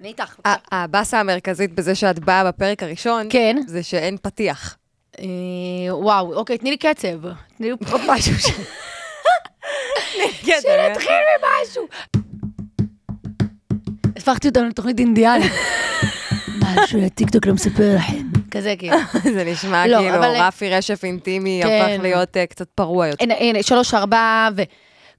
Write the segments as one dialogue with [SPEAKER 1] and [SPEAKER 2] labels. [SPEAKER 1] אני איתך.
[SPEAKER 2] אה,
[SPEAKER 3] ה- הבאסה המרכזית בזה שאת באה בפרק הראשון,
[SPEAKER 2] כן.
[SPEAKER 3] זה שאין פתיח.
[SPEAKER 2] אה, וואו, אוקיי, תני לי קצב. תני לי פה משהו ש...
[SPEAKER 3] כן,
[SPEAKER 2] שנתחיל ממשהו. הפכתי אותנו לתוכנית אינדיאנית. משהו הטיקטוק לא מספר לכם. כזה
[SPEAKER 3] כן.
[SPEAKER 2] כאילו.
[SPEAKER 3] זה נשמע
[SPEAKER 2] לא,
[SPEAKER 3] כאילו
[SPEAKER 2] אבל-
[SPEAKER 3] רפי רשף אינטימי
[SPEAKER 2] כן.
[SPEAKER 3] הפך להיות אה, קצת פרוע יותר.
[SPEAKER 2] הנה, הנה, שלוש, ארבע, ו...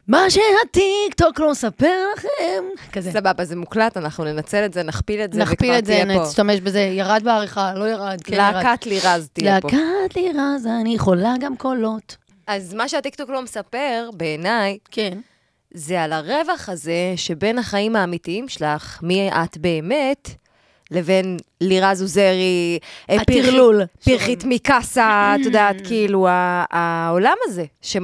[SPEAKER 2] מה שהטיקטוק לא מספר לכם. כזה.
[SPEAKER 3] סבבה, זה מוקלט, אנחנו ננצל את זה, נכפיל את זה,
[SPEAKER 2] נכפיל
[SPEAKER 3] וכבר
[SPEAKER 2] את זה,
[SPEAKER 3] תהיה פה.
[SPEAKER 2] נשתמש בזה. ירד בעריכה, לא ירד, כן ירד.
[SPEAKER 3] להקת לירז תהיה פה.
[SPEAKER 2] להקת לירז, אני יכולה גם קולות.
[SPEAKER 3] אז מה שהטיקטוק לא מספר, בעיניי,
[SPEAKER 2] כן.
[SPEAKER 3] זה על הרווח הזה שבין החיים האמיתיים שלך, מי את באמת, לבין לירז עוזרי, אה, פרחי-
[SPEAKER 2] הטרלול.
[SPEAKER 3] פרחית מקאסה, את יודעת,
[SPEAKER 2] Mm.
[SPEAKER 3] כאילו, ה- העולם הזה, ש-242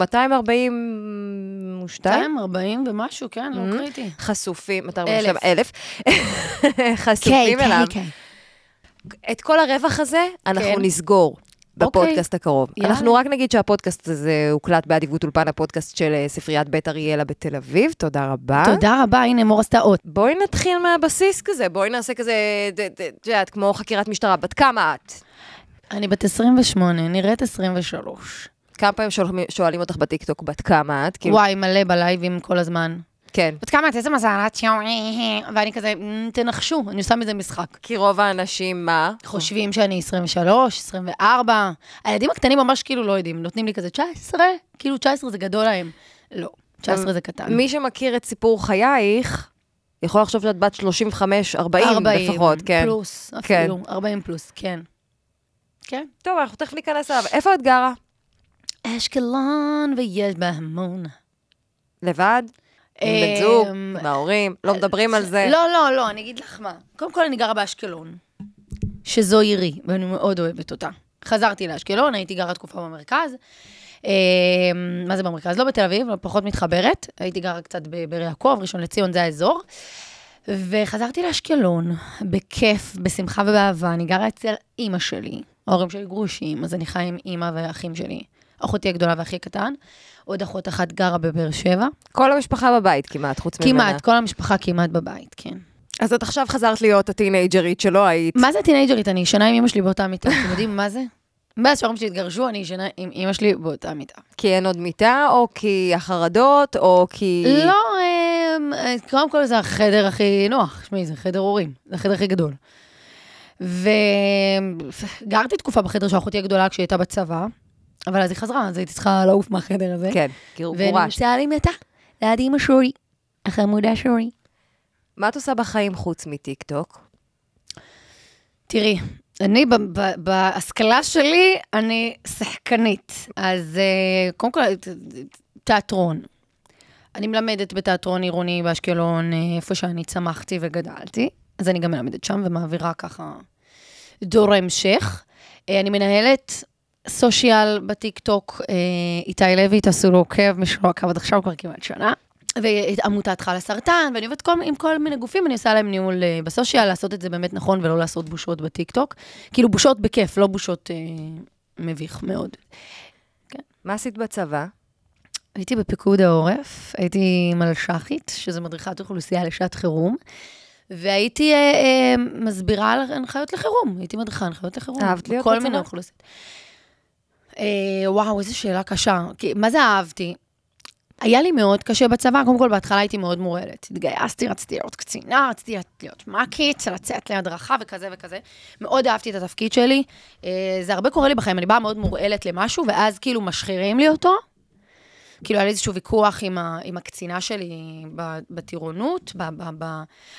[SPEAKER 2] 240 ומשהו, כן, לא קריטי.
[SPEAKER 3] חשופים,
[SPEAKER 2] אלף. כן,
[SPEAKER 3] 242 אלף, חשופים אליו. את כל הרווח הזה אנחנו
[SPEAKER 2] כן. אוקיי.
[SPEAKER 3] נסגור. בפודקאסט הקרוב.
[SPEAKER 2] יאללה.
[SPEAKER 3] אנחנו רק נגיד שהפודקאסט הזה הוקלט באדיבות אולפן הפודקאסט של אה, ספריית בית אריאלה בתל אביב, תודה רבה.
[SPEAKER 2] תודה רבה, הנה מור עשתה אות.
[SPEAKER 3] בואי נתחיל מהבסיס כזה, בואי נעשה כזה, ד- ד- את יודעת, כמו חקירת משטרה, בת כמה את?
[SPEAKER 2] אני בת 28, נראית 23.
[SPEAKER 3] כמה פעמים שואלים- שואלים אותך בטיקטוק בת כמה את? כאילו,
[SPEAKER 2] וואי, מלא בלייבים כל הזמן.
[SPEAKER 3] כן.
[SPEAKER 2] כן. בת כמה את איזה מזל את שם? אה. ואני כזה, "מ, תנחשו, אני עושה מזה משחק.
[SPEAKER 3] כי רוב האנשים, מה?
[SPEAKER 2] חושבים שאני 23, 24. הילדים הקטנים ממש כאילו לא יודעים, נותנים לי כזה 19, כאילו 19 זה גדול להם. לא, 19 זה קטן.
[SPEAKER 3] מי שמכיר את סיפור חייך, יכול לחשוב שאת בת 35-40 לפחות, כן.
[SPEAKER 2] פלוס,
[SPEAKER 3] כן.
[SPEAKER 2] אפילו, 40 פלוס, כן. כן.
[SPEAKER 3] טוב, אנחנו תכף ניכנס אליו. איפה את גרה?
[SPEAKER 2] אשקלון ויש בה המון.
[SPEAKER 3] לבד? עם
[SPEAKER 2] אה,
[SPEAKER 3] בן זוג? עם ההורים? לא מדברים על זה?
[SPEAKER 2] אמ, לא, לא, לא, אני אגיד לך מה. קודם כל, אני גרה באשקלון, שזו עירי, ואני מאוד אוהבת אותה. חזרתי לאשקלון, הייתי גרה תקופה במרכז. אה, מה זה במרכז? לא בתל אביב, אבל פחות מתחברת. הייתי גרה קצת בבאר יעקב, ראשון לציון, זה האזור. וחזרתי לאשקלון, בכיף, בשמחה ובאהבה. אני גרה אצל אימא שלי. ההורים שלי גרושים, אז אני חיה עם אימא והאחים שלי. אחותי הגדולה והאחי הקטן. עוד אחות אחת גרה בבאר שבע.
[SPEAKER 3] כל המשפחה בבית כמעט, חוץ ממנה.
[SPEAKER 2] כמעט, כל המשפחה כמעט בבית, כן.
[SPEAKER 3] אז את עכשיו חזרת להיות הטינג'רית שלא היית.
[SPEAKER 2] מה זה טינג'רית? אני ישנה עם אמא שלי באותה מיטה, אתם יודעים מה זה? מאז שההורים שלי התגרשו, אני ישנה עם אמא שלי באותה מיטה.
[SPEAKER 3] כי אין עוד מיטה, או כי החרדות, או כי...
[SPEAKER 2] לא, אמ, קודם כל זה החדר הכי נוח. שמעי, זה חדר הורים, זה החדר הכי גדול. וגרתי תקופה בחדר של אחותי הגדולה כשהיא הייתה בצבא, אבל אז היא חזרה, אז הייתי צריכה לעוף מהחדר הזה.
[SPEAKER 3] כן, כאילו גורשת.
[SPEAKER 2] ונמצאה לי מיטה, ליד אמא שלי, החמודה שלי.
[SPEAKER 3] מה את עושה בחיים חוץ מטיקטוק?
[SPEAKER 2] תראי, אני ב- ב- בהשכלה שלי, אני שחקנית. אז אה, קודם כל, ת- ת- תיאטרון. אני מלמדת בתיאטרון עירוני באשקלון, אה, איפה שאני צמחתי וגדלתי, אז אני גם מלמדת שם ומעבירה ככה דור המשך. אה, אני מנהלת סושיאל בטיקטוק, אה, איתי לוי, תעשו לו עוקב, מי שלא עקב עד עכשיו כבר כמעט שנה. ועמותת חלה סרטן, ואני עובדת כל, עם כל מיני גופים, אני עושה להם ניהול אה, בסושיאל, לעשות את זה באמת נכון ולא לעשות בושות בטיקטוק. כאילו בושות בכיף, לא בושות אה, מביך מאוד.
[SPEAKER 3] מה עשית בצבא?
[SPEAKER 2] הייתי בפיקוד העורף, הייתי מלש"חית, שזה מדריכת אוכלוסייה לשעת חירום, והייתי אה, אה, מסבירה על הנחיות לחירום, הייתי מדריכה הנחיות לחירום.
[SPEAKER 3] אהבת להיות
[SPEAKER 2] בכל
[SPEAKER 3] בצבא?
[SPEAKER 2] מיני אוכלוסיות. אה, וואו, איזו שאלה קשה. כי, מה זה אהבתי? היה לי מאוד קשה בצבא, קודם כל בהתחלה הייתי מאוד מורעלת. התגייסתי, רציתי להיות קצינה, רציתי להיות מ"כית, לצאת להדרכה וכזה וכזה. מאוד אהבתי את התפקיד שלי. אה, זה הרבה קורה לי בחיים, אני באה מאוד מורעלת למשהו, ואז כאילו משחירים לי אותו. כאילו היה לי איזשהו ויכוח עם, ה, עם הקצינה שלי ב- בטירונות, ב, ב, ב,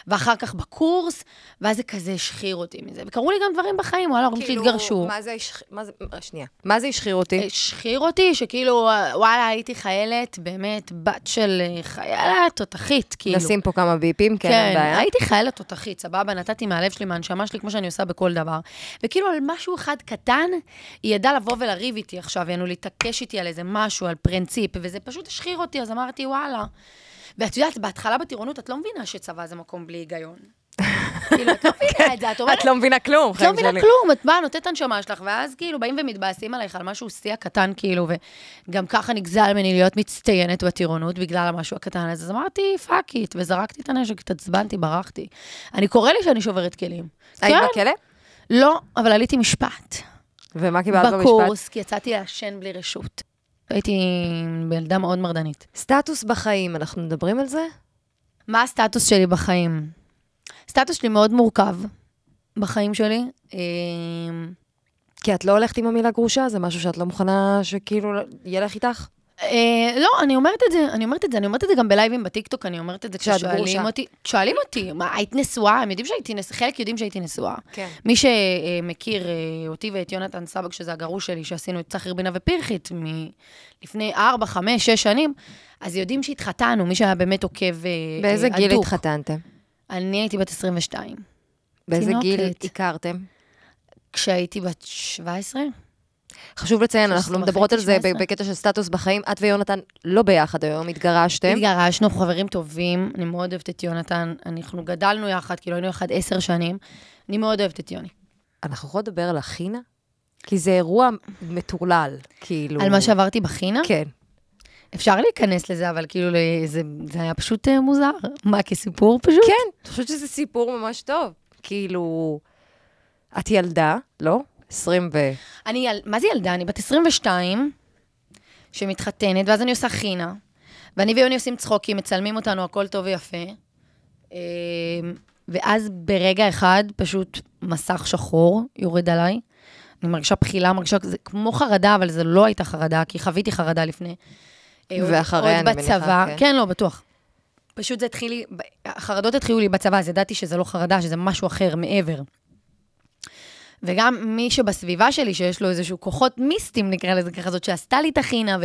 [SPEAKER 2] ואחר כך בקורס, ואז זה כזה השחיר אותי מזה. וקרו לי גם דברים בחיים, וואלה, ההורים שלי התגרשו.
[SPEAKER 3] כאילו, מה זה השח- מה זה... שנייה. מה זה השחיר
[SPEAKER 2] אה,
[SPEAKER 3] אותי?
[SPEAKER 2] השחיר אותי, שכאילו, וואלה, הייתי חיילת, באמת, בת של אה, חיילת תותחית, כאילו.
[SPEAKER 3] נשים פה כמה ביפים, כן, אין בעיה.
[SPEAKER 2] הייתי חיילת תותחית, סבבה, נתתי מהלב שלי, מהנשמה שלי, כמו שאני עושה בכל דבר. וכאילו על משהו אחד קטן, היא ידעה לבוא ולריב איתי עכשיו, יענו להתעקש איתי על איזה משהו, על פרינציפ, וזה פשוט השחיר אותי, אז אמרתי, וואלה. ואת יודעת, בהתחלה בטירונות את לא מבינה שצבא זה מקום בלי היגיון. כאילו, את לא מבינה את זה, את אומרת...
[SPEAKER 3] את לא מבינה כלום,
[SPEAKER 2] את לא
[SPEAKER 3] חיים
[SPEAKER 2] מבינה
[SPEAKER 3] שלי.
[SPEAKER 2] כלום, את באה, נותנת את הנשמה שלך, ואז כאילו באים ומתבאסים עלייך על משהו שיא הקטן, כאילו, וגם ככה נגזל ממני להיות מצטיינת בטירונות בגלל המשהו הקטן הזה. אז אמרתי, פאק איט, וזרקתי את הנשק, התעצבנתי, ברחתי. אני קורא לי שאני שוברת כלים.
[SPEAKER 3] היית
[SPEAKER 2] כן,
[SPEAKER 3] בכלא?
[SPEAKER 2] לא, אבל עליתי משפט.
[SPEAKER 3] ומה קיבלת במשפט?
[SPEAKER 2] בקורס, כי יצאתי לעשן בלי רשות. הייתי בן אדם מאוד מרדנית.
[SPEAKER 3] סטטוס בחיים, אנחנו מדברים על זה?
[SPEAKER 2] מה הסטטוס שלי בחיים? הסטטוס שלי מאוד מורכב בחיים שלי. אמ,
[SPEAKER 3] כי את לא הולכת עם המילה גרושה, זה משהו שאת לא מוכנה שכאילו ילך איתך?
[SPEAKER 2] אה, לא, אני אומרת את זה, אני אומרת את זה, אני אומרת את זה גם בלייבים בטיקטוק, אני אומרת את זה
[SPEAKER 3] כשאת
[SPEAKER 2] כששואלים
[SPEAKER 3] גרושה.
[SPEAKER 2] אותי. שואלים אותי, מה, היית נשואה? הם יודעים שהייתי נשואה, חלק יודעים שהייתי נשואה.
[SPEAKER 3] כן.
[SPEAKER 2] מי שמכיר אה, אותי ואת יונתן סבק, שזה הגרוש שלי, שעשינו את צחר בינה ופירחית מלפני 4, 5, 6 שנים, אז יודעים שהתחתנו, מי שהיה באמת עוקב אה, אה,
[SPEAKER 3] באיזה גיל
[SPEAKER 2] הדוק.
[SPEAKER 3] התחתנתם?
[SPEAKER 2] אני הייתי בת 22.
[SPEAKER 3] באיזה גיל
[SPEAKER 2] תינוקת.
[SPEAKER 3] הכרתם?
[SPEAKER 2] כשהייתי בת 17?
[SPEAKER 3] חשוב לציין, אנחנו
[SPEAKER 2] וחצי,
[SPEAKER 3] מדברות על זה
[SPEAKER 2] 17.
[SPEAKER 3] בקטע של סטטוס בחיים. את ויונתן לא ביחד היום, התגרשתם.
[SPEAKER 2] התגרשנו, חברים טובים, אני מאוד אוהבת את יונתן, אנחנו גדלנו יחד, כאילו היינו יחד עשר שנים, אני מאוד אוהבת את יוני.
[SPEAKER 3] אנחנו יכולות לדבר על החינה? כי זה אירוע מטורלל, כאילו...
[SPEAKER 2] על מה שעברתי בחינה?
[SPEAKER 3] כן.
[SPEAKER 2] אפשר להיכנס לזה, אבל כאילו ל- זה- זה היה פשוט אה, מוזר. מה, כסיפור פשוט?
[SPEAKER 3] כן, אני חושבת שזה סיפור ממש טוב. כאילו, את ילדה, לא? 20 ו...
[SPEAKER 2] אני, יל- מה זה ילדה? אני בת 22, שמתחתנת, ואז אני עושה חינה, ואני ויוני עושים צחוקים, מצלמים אותנו, הכל טוב ויפה. אמ, ואז ברגע אחד, פשוט מסך שחור יורד עליי. אני מרגישה בחילה, מרגישה זה כמו חרדה, אבל זה לא הייתה חרדה, כי חוויתי חרדה לפני. אה, עוד-
[SPEAKER 3] ואחריה,
[SPEAKER 2] עוד
[SPEAKER 3] אני מניחה,
[SPEAKER 2] בצבא,
[SPEAKER 3] כן.
[SPEAKER 2] כן, לא, בטוח. פשוט זה התחיל לי, החרדות התחילו לי בצבא, אז ידעתי שזה לא חרדה, שזה משהו אחר, מעבר. וגם מי שבסביבה שלי, שיש לו איזשהו כוחות מיסטיים, נקרא לזה ככה, זאת שעשתה לי את החינה,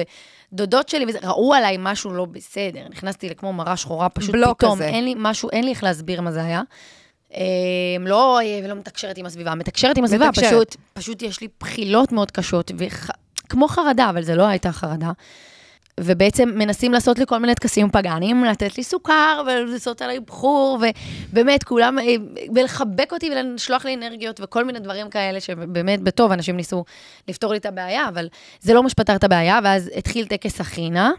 [SPEAKER 2] ודודות שלי, וזה, ראו עליי משהו לא בסדר. נכנסתי לכמו מראה שחורה, פשוט
[SPEAKER 3] בלוק
[SPEAKER 2] פתאום,
[SPEAKER 3] כזה.
[SPEAKER 2] אין לי משהו, אין לי איך להסביר מה זה היה. אה, לא, אה, ולא מתקשרת עם הסביבה, מתקשרת עם הסביבה,
[SPEAKER 3] מתקשרת.
[SPEAKER 2] פשוט, פשוט יש לי בחילות מאוד קשות, וח... כמו חרדה, אבל זה לא הייתה חרדה. ובעצם מנסים לעשות לי כל מיני טקסים פגאנים, לתת לי סוכר ולעשות עליי בחור, ובאמת, כולם, אה, ולחבק אותי ולשלוח לי אנרגיות וכל מיני דברים כאלה, שבאמת, בטוב, אנשים ניסו לפתור לי את הבעיה, אבל זה לא מה שפתר את הבעיה, ואז התחיל טקס החינה,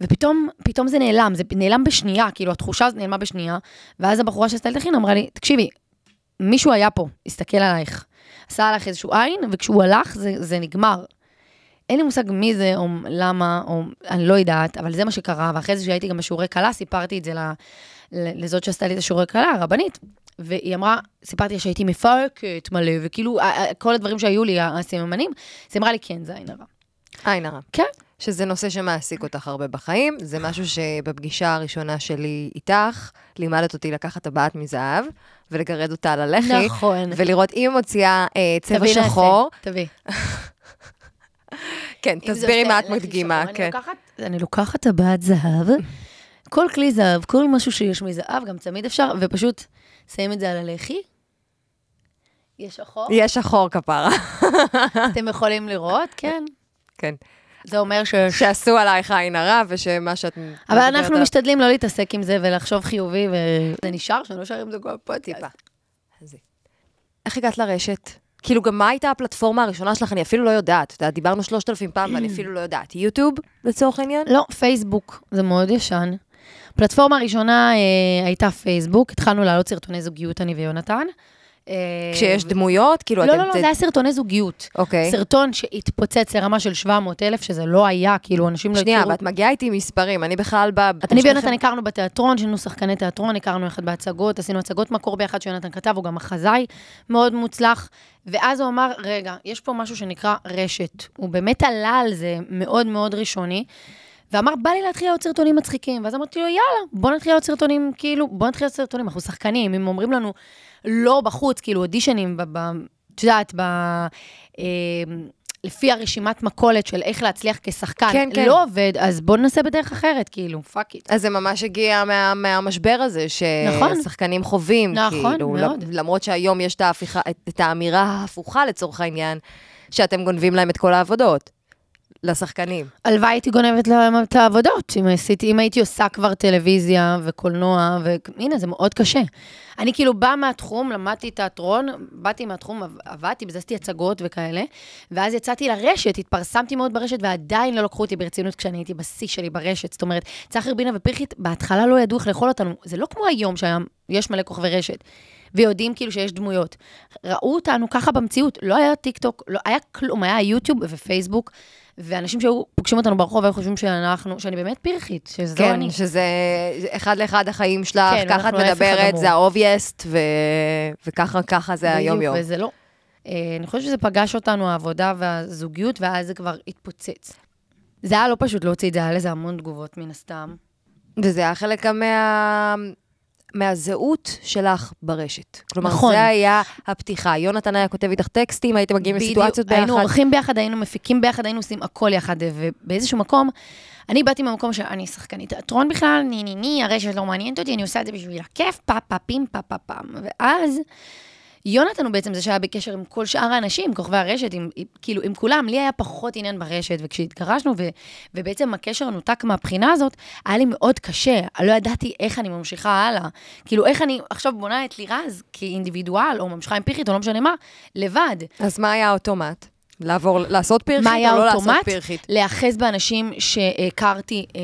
[SPEAKER 2] ופתאום פתאום זה נעלם, זה נעלם בשנייה, כאילו, התחושה הזאת נעלמה בשנייה, ואז הבחורה שעשתה לי את החינה אמרה לי, תקשיבי, מישהו היה פה, הסתכל עלייך, עשה עלייך איזשהו עין, וכשהוא הלך, זה, זה נגמר. אין לי מושג מי זה, או למה, או אני לא יודעת, אבל זה מה שקרה, ואחרי זה שהייתי גם בשיעורי כלה, סיפרתי את זה ל- ל- לזאת שעשתה לי את השיעורי כלה, הרבנית. והיא אמרה, סיפרתי לה שהייתי מפרקת מלא, וכאילו, ה- ה- כל הדברים שהיו לי, הסממנים, אז היא אמרה לי, כן, זה עין הרע.
[SPEAKER 3] עין הרע.
[SPEAKER 2] כן.
[SPEAKER 3] שזה נושא שמעסיק אותך הרבה בחיים, זה משהו שבפגישה הראשונה שלי איתך, לימדת אותי לקחת טבעת מזהב ולגרד אותה על הלחי,
[SPEAKER 2] נכון.
[SPEAKER 3] ולראות אם היא מוציאה אה, צבע
[SPEAKER 2] תביאי לה את זה,
[SPEAKER 3] שחור.
[SPEAKER 2] תביאי.
[SPEAKER 3] כן,
[SPEAKER 2] אם זה
[SPEAKER 3] תסבירי
[SPEAKER 2] עושה
[SPEAKER 3] מה את
[SPEAKER 2] לחי
[SPEAKER 3] מדגימה,
[SPEAKER 2] שחור, אני
[SPEAKER 3] כן.
[SPEAKER 2] לוקחת- אני לוקחת טבעת זהב, כל כלי זהב, כל משהו שיש מזהב, גם צמיד אפשר, ופשוט שמים את זה על הלחי. יש שחור,
[SPEAKER 3] יהיה שחור כפרה,
[SPEAKER 2] אתם יכולים לראות, כן.
[SPEAKER 3] כן.
[SPEAKER 2] זה אומר שיש...
[SPEAKER 3] שעשו עלייך עין הרע ושמה שאת...
[SPEAKER 2] אבל
[SPEAKER 3] מדברת
[SPEAKER 2] אנחנו
[SPEAKER 3] עליו-
[SPEAKER 2] משתדלים לא להתעסק עם זה ולחשוב חיובי, וזה נשאר, שאני לא שרים את זה כל הפודקאסט.
[SPEAKER 3] טיפה. אז- איך הגעת לרשת? כאילו, גם מה הייתה הפלטפורמה הראשונה שלך? אני אפילו לא יודעת. אתה יודע, דיברנו 3,000 פעם ואני אפילו לא יודעת. יוטיוב, לצורך העניין?
[SPEAKER 2] לא, פייסבוק, זה מאוד ישן. הפלטפורמה הראשונה אה, הייתה פייסבוק, התחלנו להעלות סרטוני זוגיות, אני ויונתן. אה,
[SPEAKER 3] כשיש דמויות? כאילו,
[SPEAKER 2] לא,
[SPEAKER 3] אתם-
[SPEAKER 2] לא, לא,
[SPEAKER 3] זה-
[SPEAKER 2] זה היה סרטוני זוגיות.
[SPEAKER 3] אוקיי.
[SPEAKER 2] סרטון שהתפוצץ לרמה של 700 אלף, שזה לא היה, כאילו, אנשים לא
[SPEAKER 3] שנייה,
[SPEAKER 2] הכירו.
[SPEAKER 3] ואת מגיעה איתי עם מספרים, אני בכלל ב... אתם
[SPEAKER 2] אני
[SPEAKER 3] שניכם-
[SPEAKER 2] ויונתן הכרנו בתיאטרון, שהיינו שחקני תיאטרון, הכרנו יחד בהצגות, עשינו הצגות מקור ביחד שיונתן כתב, הוא גם מחזאי מאוד מוצלח. ואז הוא אמר, רגע, יש פה משהו שנקרא רשת. הוא באמת עלה על זה מאוד מאוד ראשוני, ואמר, בא לי להתחיל לעוד סרטונים מצחיקים. ואז אמרתי לו, יאללה, בוא נתחיל לעוד סרטונים, כאילו, בוא נתחיל לעוד סרטונים, אנחנו שחקנים, אם אומרים לנו לא בחוץ, כאילו אודישנים, ב- ב- את יודעת, ב... אה, לפי הרשימת מכולת של איך להצליח כשחקן,
[SPEAKER 3] כן, כן.
[SPEAKER 2] לא עובד, אז בוא ננסה בדרך אחרת, כאילו, פאק איט.
[SPEAKER 3] אז זה ממש הגיע מה, מהמשבר הזה,
[SPEAKER 2] נכון.
[SPEAKER 3] ששחקנים חווים,
[SPEAKER 2] נכון,
[SPEAKER 3] כאילו,
[SPEAKER 2] מאוד.
[SPEAKER 3] למ- למרות שהיום יש את, ההפיכה, את, את האמירה ההפוכה לצורך העניין, שאתם גונבים להם את כל העבודות. לשחקנים.
[SPEAKER 2] הלוואי הייתי גונבת להם את העבודות, אם, עשיתי, אם הייתי עושה כבר טלוויזיה וקולנוע, והנה, זה מאוד קשה. אני כאילו באה מהתחום, למדתי תיאטרון, באתי מהתחום, עב- עבדתי, בזה עשיתי הצגות וכאלה, ואז יצאתי לרשת, התפרסמתי מאוד ברשת, ועדיין לא לקחו אותי ברצינות כשאני הייתי בשיא שלי ברשת. זאת אומרת, צחר בינה ופרחית, בהתחלה לא ידעו איך לאכול אותנו. זה לא כמו היום שיש מלא כוכבי רשת. ויודעים כאילו שיש דמויות. ראו אותנו ככה במציאות, לא היה טיק טוק, לא היה כלום, היה יוטיוב ופייסבוק, ואנשים שהיו פוגשים אותנו ברחוב היו חושבים שאנחנו, שאני באמת פרחית, שזו לא
[SPEAKER 3] כן,
[SPEAKER 2] אני.
[SPEAKER 3] שזה אחד לאחד החיים שלך,
[SPEAKER 2] כן,
[SPEAKER 3] ככה את
[SPEAKER 2] אנחנו ההפך
[SPEAKER 3] מדברת,
[SPEAKER 2] הגמור.
[SPEAKER 3] זה ה-obviest, ו... וככה ככה זה היום-יום.
[SPEAKER 2] בדיוק, וזה לא. אה, אני חושבת שזה פגש אותנו, העבודה והזוגיות, ואז זה כבר התפוצץ. זה היה לא פשוט להוציא את זה, היה לזה המון תגובות מן הסתם.
[SPEAKER 3] וזה היה חלק גם מה... מהזהות שלך ברשת. כלומר,
[SPEAKER 2] נכון.
[SPEAKER 3] זה היה הפתיחה. יונתן היה כותב איתך טקסטים, הייתם מגיעים
[SPEAKER 2] בדיוק,
[SPEAKER 3] לסיטואציות ביחד.
[SPEAKER 2] היינו עורכים ביחד, היינו מפיקים ביחד, היינו עושים הכל יחד, ובאיזשהו מקום, אני באתי מהמקום שאני שחקנית תיאטרון בכלל, ני ני ני, הרשת לא מעניינת אותי, אני עושה את זה בשביל הכיף, פה פה פים, פה פה פם. ואז, יונתן הוא בעצם זה שהיה בקשר עם כל שאר האנשים, כוכבי הרשת, עם, עם- כאילו, עם כולם, לי היה פחות עניין ברשת, וכשהתגרשנו, ו, ובעצם הקשר נותק מהבחינה הזאת, היה לי מאוד קשה, לא ידעתי איך אני ממשיכה הלאה. כאילו, איך אני עכשיו בונה את לירז כאינדיבידואל, או ממשיכה עם פירחית, או לא משנה מה, לבד.
[SPEAKER 3] אז מה היה האוטומט? לעבור, לעשות פרחית
[SPEAKER 2] מה היה
[SPEAKER 3] או לא לעשות
[SPEAKER 2] האוטומט?
[SPEAKER 3] פרחית?
[SPEAKER 2] להיאחז באנשים שהכרתי אה,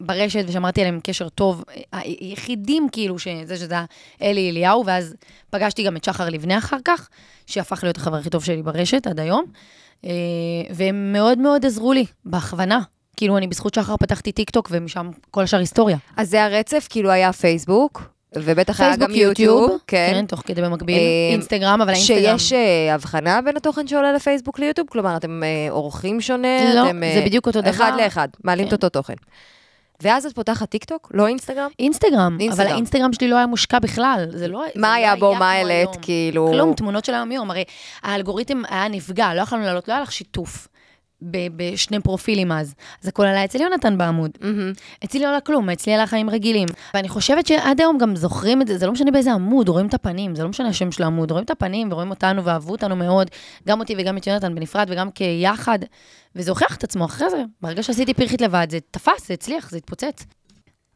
[SPEAKER 2] ברשת ושמרתי עליהם קשר טוב, אה, היחידים כאילו, שזה שזה היה אלי אליהו, ואז פגשתי גם את שחר לבנה אחר כך, שהפך להיות החבר הכי טוב שלי ברשת עד היום, אה, והם מאוד מאוד עזרו לי, בהכוונה. כאילו, אני בזכות שחר פתחתי טיק טוק, ומשם כל השאר היסטוריה.
[SPEAKER 3] אז זה הרצף, כאילו היה פייסבוק, ובטח היה גם
[SPEAKER 2] פייסבוק,
[SPEAKER 3] יוטיוב.
[SPEAKER 2] כן, תוך כדי במקביל,
[SPEAKER 3] אה,
[SPEAKER 2] אינסטגרם, אבל האינסטגרם.
[SPEAKER 3] שיש אה, הבחנה בין התוכן שעולה לפייסבוק ליוטיוב? כלומר, אתם אה, עורכים שונה?
[SPEAKER 2] לא,
[SPEAKER 3] אתם, אה,
[SPEAKER 2] זה בדיוק אותו דבר.
[SPEAKER 3] אחד לאחד, מעלים את
[SPEAKER 2] כן.
[SPEAKER 3] אותו תוכן. ואז את פותחת טיקטוק, לא אינסטגרם?
[SPEAKER 2] אינסטגרם, אבל
[SPEAKER 3] אינסטגרם.
[SPEAKER 2] האינסטגרם שלי לא היה מושקע בכלל, זה לא... זה לא
[SPEAKER 3] מה היה בו,
[SPEAKER 2] כמו
[SPEAKER 3] מה העלית,
[SPEAKER 2] היום.
[SPEAKER 3] כאילו...
[SPEAKER 2] כלום, תמונות של היום-יום, הרי האלגוריתם היה נפגע, לא יכולנו לעלות, לא היה לך שיתוף. ב- בשני פרופילים אז. אז הכל עלה אצל יונתן בעמוד.
[SPEAKER 3] מהמם.
[SPEAKER 2] אצלי לא עלה כלום, אצלי עלה חיים רגילים. ואני חושבת שעד היום גם זוכרים את זה, זה לא משנה באיזה עמוד, רואים את הפנים, זה לא משנה השם של העמוד, רואים את הפנים ורואים אותנו ואהבו אותנו מאוד, גם אותי וגם את יונתן בנפרד וגם כיחד. וזה הוכיח את עצמו אחרי זה. ברגע שעשיתי פרחית לבד, זה תפס, זה הצליח, זה התפוצץ.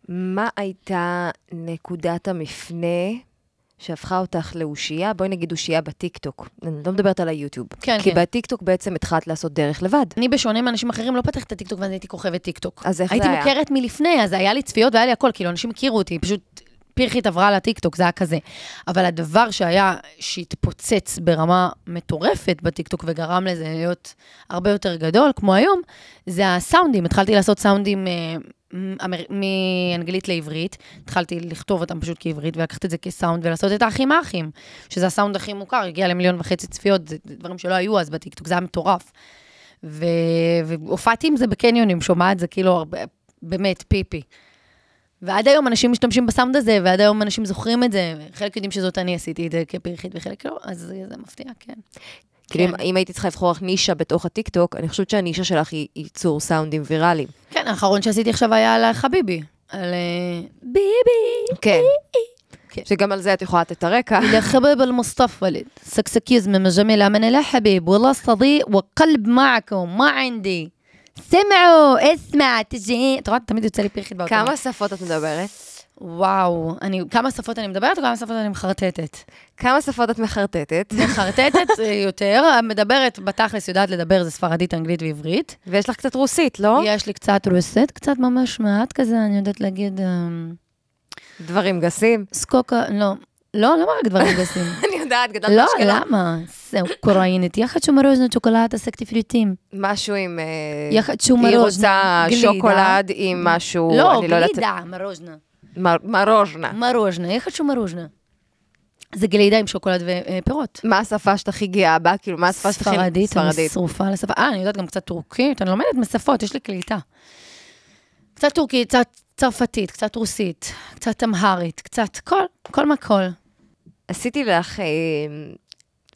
[SPEAKER 3] מה הייתה נקודת המפנה שהפכה אותך לאושייה? בואי נגיד אושייה בטיקטוק. אני לא מדברת על היוטיוב.
[SPEAKER 2] כן,
[SPEAKER 3] כי
[SPEAKER 2] כן.
[SPEAKER 3] בטיקטוק בעצם התחלת לעשות דרך לבד.
[SPEAKER 2] אני, בשונה מאנשים אחרים, לא פתחתי את הטיקטוק ואז הייתי כוכבת טיקטוק.
[SPEAKER 3] אז איך זה
[SPEAKER 2] הייתי
[SPEAKER 3] היה?
[SPEAKER 2] הייתי מוכרת מלפני, אז היה לי צפיות והיה לי הכל, כאילו, אנשים הכירו אותי, פשוט פרחית עברה לטיקטוק, זה היה כזה. אבל הדבר שהיה, שהתפוצץ ברמה מטורפת בטיקטוק וגרם לזה להיות הרבה יותר גדול, כמו היום, זה הסאונדים. התחלתי לעשות סאונדים... אה, מ- אמר- מאנגלית לעברית, התחלתי לכתוב אותם פשוט כעברית, ולקחת את זה כסאונד ולעשות את האחים האחים, שזה הסאונד הכי מוכר, הגיע למיליון וחצי צפיות, זה זה דברים שלא היו אז בטיקטוק, זה היה מטורף. ו- והופעתי עם זה בקניונים, שומעת זה כאילו הרבה, באמת, פיפי. ועד היום אנשים משתמשים בסאונד הזה, ועד היום אנשים זוכרים את זה, חלק יודעים שזאת אני עשיתי את זה כפרחית וחלק לא, אז זה- זה מפתיע, כן.
[SPEAKER 3] כאילו, אם-
[SPEAKER 2] כן.
[SPEAKER 3] אם הייתי צריכה לבחור לך נישה בתוך הטיקטוק, אני חושבת שהנישה שלך היא ייצור סאונדים ויראליים.
[SPEAKER 2] כן, האחרון שעשיתי עכשיו היה על חביבי, על אה, ביבי.
[SPEAKER 3] כן.
[SPEAKER 2] כן.
[SPEAKER 3] שגם על זה את יכולה לתת את הרקע.
[SPEAKER 2] إلى خباب المستفلت سكسكيز من جميلة من لا حبيب ولا صديق وقلب معكم ما عندي سمعوا اسمع تجي طبعا תמיד יוצא לי פרחית באוטו.
[SPEAKER 3] כמה שפות את מדברת?
[SPEAKER 2] וואו, אני, כמה שפות אני מדברת או כמה שפות אני מחרטטת?
[SPEAKER 3] כמה שפות את מחרטטת?
[SPEAKER 2] מחרטטת אה, יותר, מדברת בתכלס, יודעת לדבר, זה ספרדית, אנגלית ועברית.
[SPEAKER 3] ויש לך קצת רוסית, לא?
[SPEAKER 2] יש לי קצת רוסית, קצת ממש מעט כזה, אני יודעת להגיד אמ,
[SPEAKER 3] דברים גסים.
[SPEAKER 2] סקוקה, לא, לא, לא רק דברים גסים.
[SPEAKER 3] אני יודעת, גדלת
[SPEAKER 2] לא,
[SPEAKER 3] באשקלון.
[SPEAKER 2] למה? זה אוקראינית. Я хочу мороженое, шоколад, сектив фрутим.
[SPEAKER 3] משהו עם... אה,
[SPEAKER 2] Я хочу
[SPEAKER 3] היא
[SPEAKER 2] мороженое.
[SPEAKER 3] רוצה
[SPEAKER 2] גלידה.
[SPEAKER 3] שוקולד עם משהו,
[SPEAKER 2] לא,
[SPEAKER 3] אני לא יודעת...
[SPEAKER 2] גלידה, мороженое.
[SPEAKER 3] מר- מרוז'נה.
[SPEAKER 2] Мороженое. Я хочу мороженое. זה גלידה עם שוקולד אה, ופירות.
[SPEAKER 3] מה השפה שאת הכי גאה בה? כאילו, מה השפה שאת הכי...
[SPEAKER 2] ספרדית, אני שרופה על השפה. אה, אני יודעת גם קצת טורקית, אני לומדת משפות, יש לי קליטה. קצת טורקית, קצת צרפתית, קצת רוסית, קצת אמהרית, קצת כל, כל מה כל.
[SPEAKER 3] עשיתי לך אה,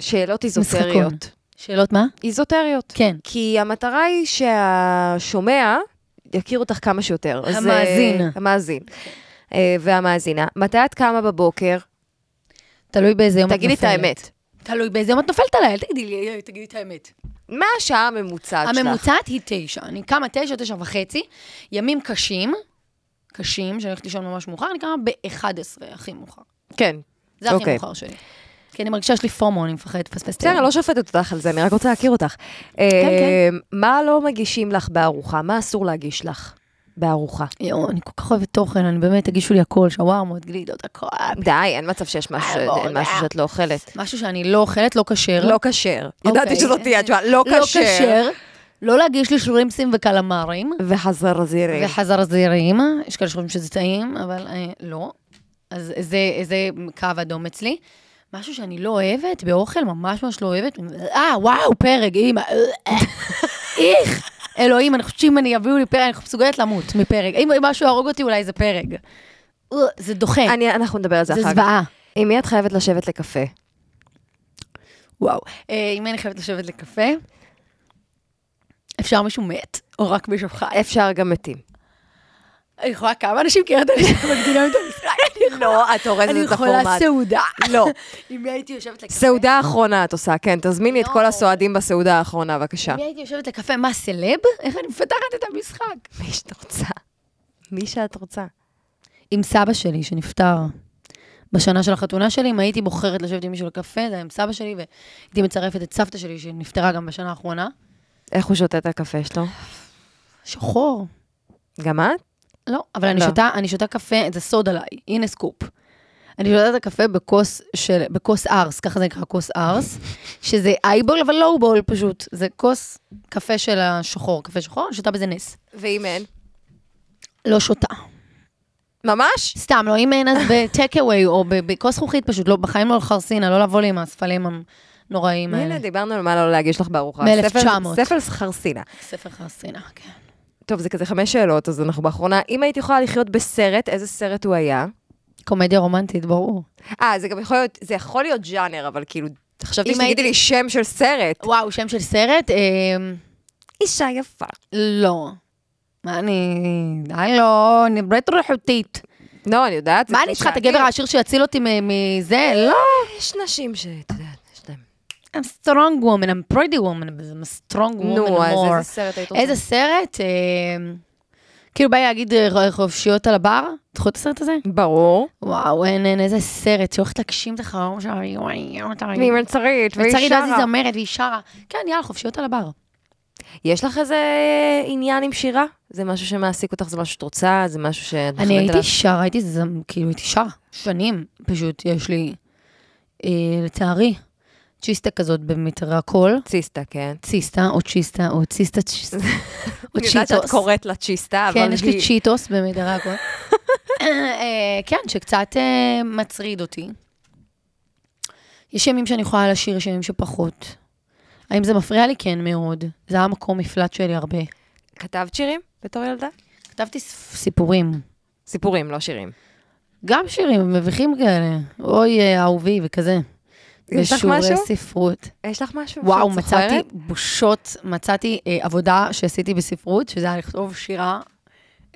[SPEAKER 3] שאלות איזוטריות.
[SPEAKER 2] שאלות מה?
[SPEAKER 3] איזוטריות.
[SPEAKER 2] כן.
[SPEAKER 3] כי המטרה היא שהשומע יכיר אותך כמה שיותר. אז, אה,
[SPEAKER 2] המאזין.
[SPEAKER 3] המאזין. אה, והמאזינה. מתי את קמה בבוקר?
[SPEAKER 2] תלוי באיזה יום את
[SPEAKER 3] תגידי
[SPEAKER 2] נופלת.
[SPEAKER 3] את האמת.
[SPEAKER 2] תלוי באיזה יום את נופלת עליי, אל תגידי לי, "אה, תגידי את האמת.
[SPEAKER 3] מה השעה הממוצעת שלך?
[SPEAKER 2] הממוצעת היא תשע. אני קמה תשע, תשע וחצי, ימים קשים, קשים, שאני הולכת לישון ממש מאוחר, אני קמה ב-11 הכי מאוחר.
[SPEAKER 3] כן.
[SPEAKER 2] זה הכי
[SPEAKER 3] אוקיי.
[SPEAKER 2] מאוחר שלי. כי אני מרגישה שיש לי פומו, אני מפחדת לפספס את
[SPEAKER 3] בסדר,
[SPEAKER 2] היום.
[SPEAKER 3] לא שופטת אותך על זה, אני רק רוצה להכיר אותך. אה, מה לא מגישים לך בארוחה? מה אסור להגיש לך בארוחה?
[SPEAKER 2] יואו, אני כל כך אוהבת תוכן, אני באמת, תגישו לי הכל, שווארמות, גלידות, הכל.
[SPEAKER 3] די, אין מצב שיש משהו ש-
[SPEAKER 2] אה,
[SPEAKER 3] אין משהו שאת לא אוכלת.
[SPEAKER 2] משהו שאני לא אוכלת, לא כשר.
[SPEAKER 3] לא כשר. ידעתי
[SPEAKER 2] אוקיי.
[SPEAKER 3] שזאת תהיה התשובה, לא
[SPEAKER 2] לא
[SPEAKER 3] כשר.
[SPEAKER 2] כשר. לא להגיש לי שרימפסים וקלמרים.
[SPEAKER 3] וחזרזירים.
[SPEAKER 2] וחזרזירים, יש כאלה שאומרים שזה טעים, אבל אה, לא. אז זה, זה קו אדום אצלי. משהו שאני לא אוהבת, באוכל ממש ממש לא אוהבת, אה, וואו, פרק, אימא, אה, אה. איך, אלוהים, אני חושבת שאם אני יביאו לי פרק, אני מסוגלת למות מפרק. אם משהו יהרוג אותי, אולי זה פרק. אה, זה דוחה,
[SPEAKER 3] אני- אנחנו נדבר על זה
[SPEAKER 2] זה
[SPEAKER 3] אחר כך.
[SPEAKER 2] זוועה.
[SPEAKER 3] עם מי את חייבת לשבת לקפה?
[SPEAKER 2] וואו. אה, אם אני חייבת לשבת לקפה, אפשר מישהו מת, או רק מישהו חי.
[SPEAKER 3] אפשר גם מתים.
[SPEAKER 2] אני יכולה כמה אנשים קראת לי שמקדימים את המשחק, אני יכולה.
[SPEAKER 3] לא, את אורזת
[SPEAKER 2] אני
[SPEAKER 3] את
[SPEAKER 2] יכולה
[SPEAKER 3] הפורמט.
[SPEAKER 2] סעודה.
[SPEAKER 3] לא.
[SPEAKER 2] אם הייתי יושבת לקפה...
[SPEAKER 3] סעודה האחרונה את עושה, כן, תזמיני את כל
[SPEAKER 2] לא.
[SPEAKER 3] הסועדים בסעודה האחרונה, בבקשה.
[SPEAKER 2] אם הייתי יושבת לקפה, מה, סלב? איך אני מפתחת את המשחק?
[SPEAKER 3] מי שאת רוצה. מי שאת רוצה.
[SPEAKER 2] עם סבא שלי, שנפטר בשנה של החתונה שלי, אם הייתי בוחרת לשבת עם מישהו לקפה, זה היה עם סבא שלי, והייתי מצרפת את סבתא שלי, שנפטרה גם בשנה האחרונה.
[SPEAKER 3] איך הוא שותה את הקפה שלו?
[SPEAKER 2] שחור.
[SPEAKER 3] גם את?
[SPEAKER 2] לא, אבל אני
[SPEAKER 3] לא.
[SPEAKER 2] שותה, אני שותה קפה, זה סוד עליי, הנה סקופ. אני שותה את הקפה בכוס של, בכוס ארס, ככה זה נקרא כוס ארס, שזה אייבול, אבל לא בול פשוט, זה כוס קפה של השחור, קפה שחור, אני שותה בזה נס.
[SPEAKER 3] ואם אין?
[SPEAKER 2] לא שותה.
[SPEAKER 3] ממש?
[SPEAKER 2] סתם, לא, אם אין אז בטק אווי או ב- בכוס זכוכית פשוט, לא, בחיים לא לחרסינה, לא לבוא לי עם הספלים הנוראים האלה.
[SPEAKER 3] הנה, דיברנו על מה לא להגיש לך בארוחה.
[SPEAKER 2] מ-1900.
[SPEAKER 3] ספל- ספל חרסינה.
[SPEAKER 2] ספר חרסינה, כן.
[SPEAKER 3] טוב, זה כזה חמש שאלות, אז אנחנו באחרונה. אם היית יכולה לחיות בסרט, איזה סרט הוא היה?
[SPEAKER 2] קומדיה רומנטית, ברור.
[SPEAKER 3] אה, זה גם יכול להיות, זה יכול להיות ז'אנר, אבל כאילו, חשבתי
[SPEAKER 2] אם
[SPEAKER 3] שתגידי
[SPEAKER 2] הייתי-
[SPEAKER 3] לי שם של סרט.
[SPEAKER 2] וואו, שם של סרט? אה,
[SPEAKER 3] אישה יפה.
[SPEAKER 2] לא. מה אני... הלו, אני ברטו איכותית.
[SPEAKER 3] לא, אני יודעת. זה
[SPEAKER 2] מה אני צריכה את הגבר העשיר שיציל אותי מ- מזה? לא.
[SPEAKER 3] כאילו, יש נשים שאת יודעת, יש להם.
[SPEAKER 2] I'm strong woman, I'm pretty woman, but I'm a strong woman
[SPEAKER 3] נו, אז
[SPEAKER 2] more.
[SPEAKER 3] איזה סרט היית רוצה?
[SPEAKER 2] איזה סרט? אה, כאילו בא לי להגיד אה, חופשיות על הבר? זכו את הסרט הזה?
[SPEAKER 3] ברור.
[SPEAKER 2] וואו, אין, אין, איזה סרט, שהולכת להגשים את החלום שלה, והיא- וואי, אותה,
[SPEAKER 3] והיא מלצרית, והיא
[SPEAKER 2] וצריך לדעת היא
[SPEAKER 3] שרה.
[SPEAKER 2] זמרת, והיא שרה. כן, יאללה, חופשיות על הבר.
[SPEAKER 3] יש לך איזה עניין עם שירה? זה משהו שמעסיק אותך, זה משהו שאת רוצה, זה משהו שאת
[SPEAKER 2] אני
[SPEAKER 3] מכוונת
[SPEAKER 2] הייתי
[SPEAKER 3] אליו?
[SPEAKER 2] שרה, הייתי זמ... כאילו הייתי שרה. שנים, פשוט, יש לי, אה, לצערי, צ'יסטה כזאת במטרה קול.
[SPEAKER 3] ציסטה, כן.
[SPEAKER 2] ציסטה, או צ'יסטה, או ציסטה צ'יסטה, או
[SPEAKER 3] אני יודעת שאת
[SPEAKER 2] צ'יטוס.
[SPEAKER 3] קוראת לה צ'יסטה, אבל היא...
[SPEAKER 2] כן, יש לי צ'יטוס במדרה הכל. אה, כן, שקצת אה, מטריד אותי. יש ימים שאני יכולה לשיר, יש ימים שפחות. האם זה מפריע לי? כן, מאוד. זה היה מקום מפלט שלי הרבה.
[SPEAKER 3] כתבת שירים בתור ילדה?
[SPEAKER 2] כתבתי ס- סיפורים.
[SPEAKER 3] סיפורים, לא שירים.
[SPEAKER 2] גם שירים מביכים כאלה. אוי, אה, אהובי וכזה.
[SPEAKER 3] יש לך משהו?
[SPEAKER 2] ושיעורי ספרות.
[SPEAKER 3] יש לך משהו
[SPEAKER 2] וואו,
[SPEAKER 3] שאת זוכרת?
[SPEAKER 2] מצאתי בושות, מצאתי אה, עבודה שעשיתי בספרות, שזה היה לכתוב שירה,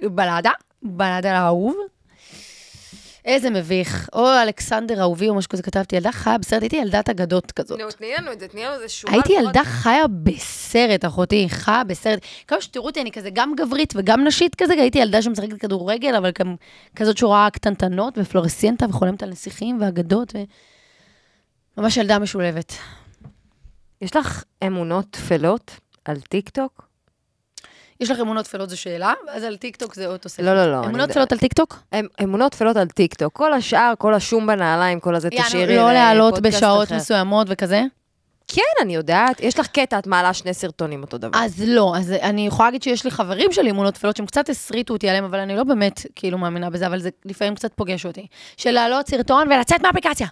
[SPEAKER 2] בלדה, בלדה לאהוב. איזה מביך. או אלכסנדר אהובי או משהו כזה כתבתי, ילדה חיה בסרט, הייתי ילדת אגדות כזאת.
[SPEAKER 3] נו, תני לנו את זה, תני לנו איזה שורה.
[SPEAKER 2] הייתי
[SPEAKER 3] לפחות.
[SPEAKER 2] ילדה חיה בסרט, אחותי, חיה בסרט. כמה שתראו אותי, אני כזה גם גברית וגם נשית כזה, הייתי ילדה שמשחקת כדורגל, אבל גם כזאת שרואה קטנטנות ופלורסיאנטה וחולמת על נסיכים ואגדות, ו... ממש ילדה משולבת.
[SPEAKER 3] יש לך אמונות טפלות על טיקטוק?
[SPEAKER 2] יש לך אמונות טפלות זו שאלה, אז על טיקטוק זה עוד תוספת.
[SPEAKER 3] לא, לא, לא. אני
[SPEAKER 2] אמונות
[SPEAKER 3] יודעת.
[SPEAKER 2] טפלות על טיקטוק?
[SPEAKER 3] אמ- אמונות טפלות על טיקטוק. כל השאר, כל השום בנעליים, כל הזה, תשאירי
[SPEAKER 2] לא להעלות
[SPEAKER 3] לפודקאסט
[SPEAKER 2] בשעות
[SPEAKER 3] אחר.
[SPEAKER 2] מסוימות וכזה?
[SPEAKER 3] כן, אני יודעת. יש לך קטע, את מעלה שני סרטונים אותו דבר.
[SPEAKER 2] אז לא, אז אני יכולה להגיד שיש לי חברים שלי אמונות טפלות שהם קצת הסריטו אותי עליהם, אבל אני לא באמת כאילו מאמינה בזה, אבל זה לפעמים קצת פוגש אותי. של להעלות סרטון ולצאת מהאפליקציה.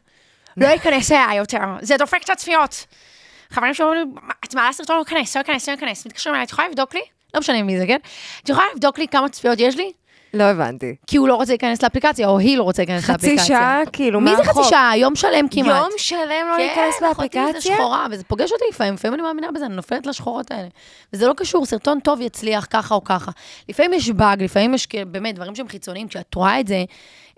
[SPEAKER 2] לא ייכנס אליה יותר, זה דופק את הצפיות. חברים שאומרים לי, "מה, את מעלה סרטון, לא ייכנס, לא ייכנס, לא ייכנס. מתקשרים אליי, את יכולה לבדוק לי? לא משנה מי זה, כן? את יכולה לבדוק לי כמה צפיות יש לי?
[SPEAKER 3] לא הבנתי.
[SPEAKER 2] כי הוא לא רוצה להיכנס לאפליקציה, או היא לא רוצה להיכנס
[SPEAKER 3] חצי
[SPEAKER 2] לאפליקציה.
[SPEAKER 3] שעה, כאילו, מה
[SPEAKER 2] מי זה
[SPEAKER 3] החוק?
[SPEAKER 2] חצי שעה? יום שלם כמעט. כן,
[SPEAKER 3] יום שלם לא להיכנס
[SPEAKER 2] אחותי זה
[SPEAKER 3] לאפליקציה?
[SPEAKER 2] שחורה, וזה פוגש אותי לפעמים, לפעמים אני מאמינה בזה, אני נופלת לשחורות האלה. וזה לא קשור, סרטון טוב יצליח ככה או ככה. לפעמים יש באג, לפעמים יש כ- באמת דברים שהם חיצוניים, כשאת רואה את זה,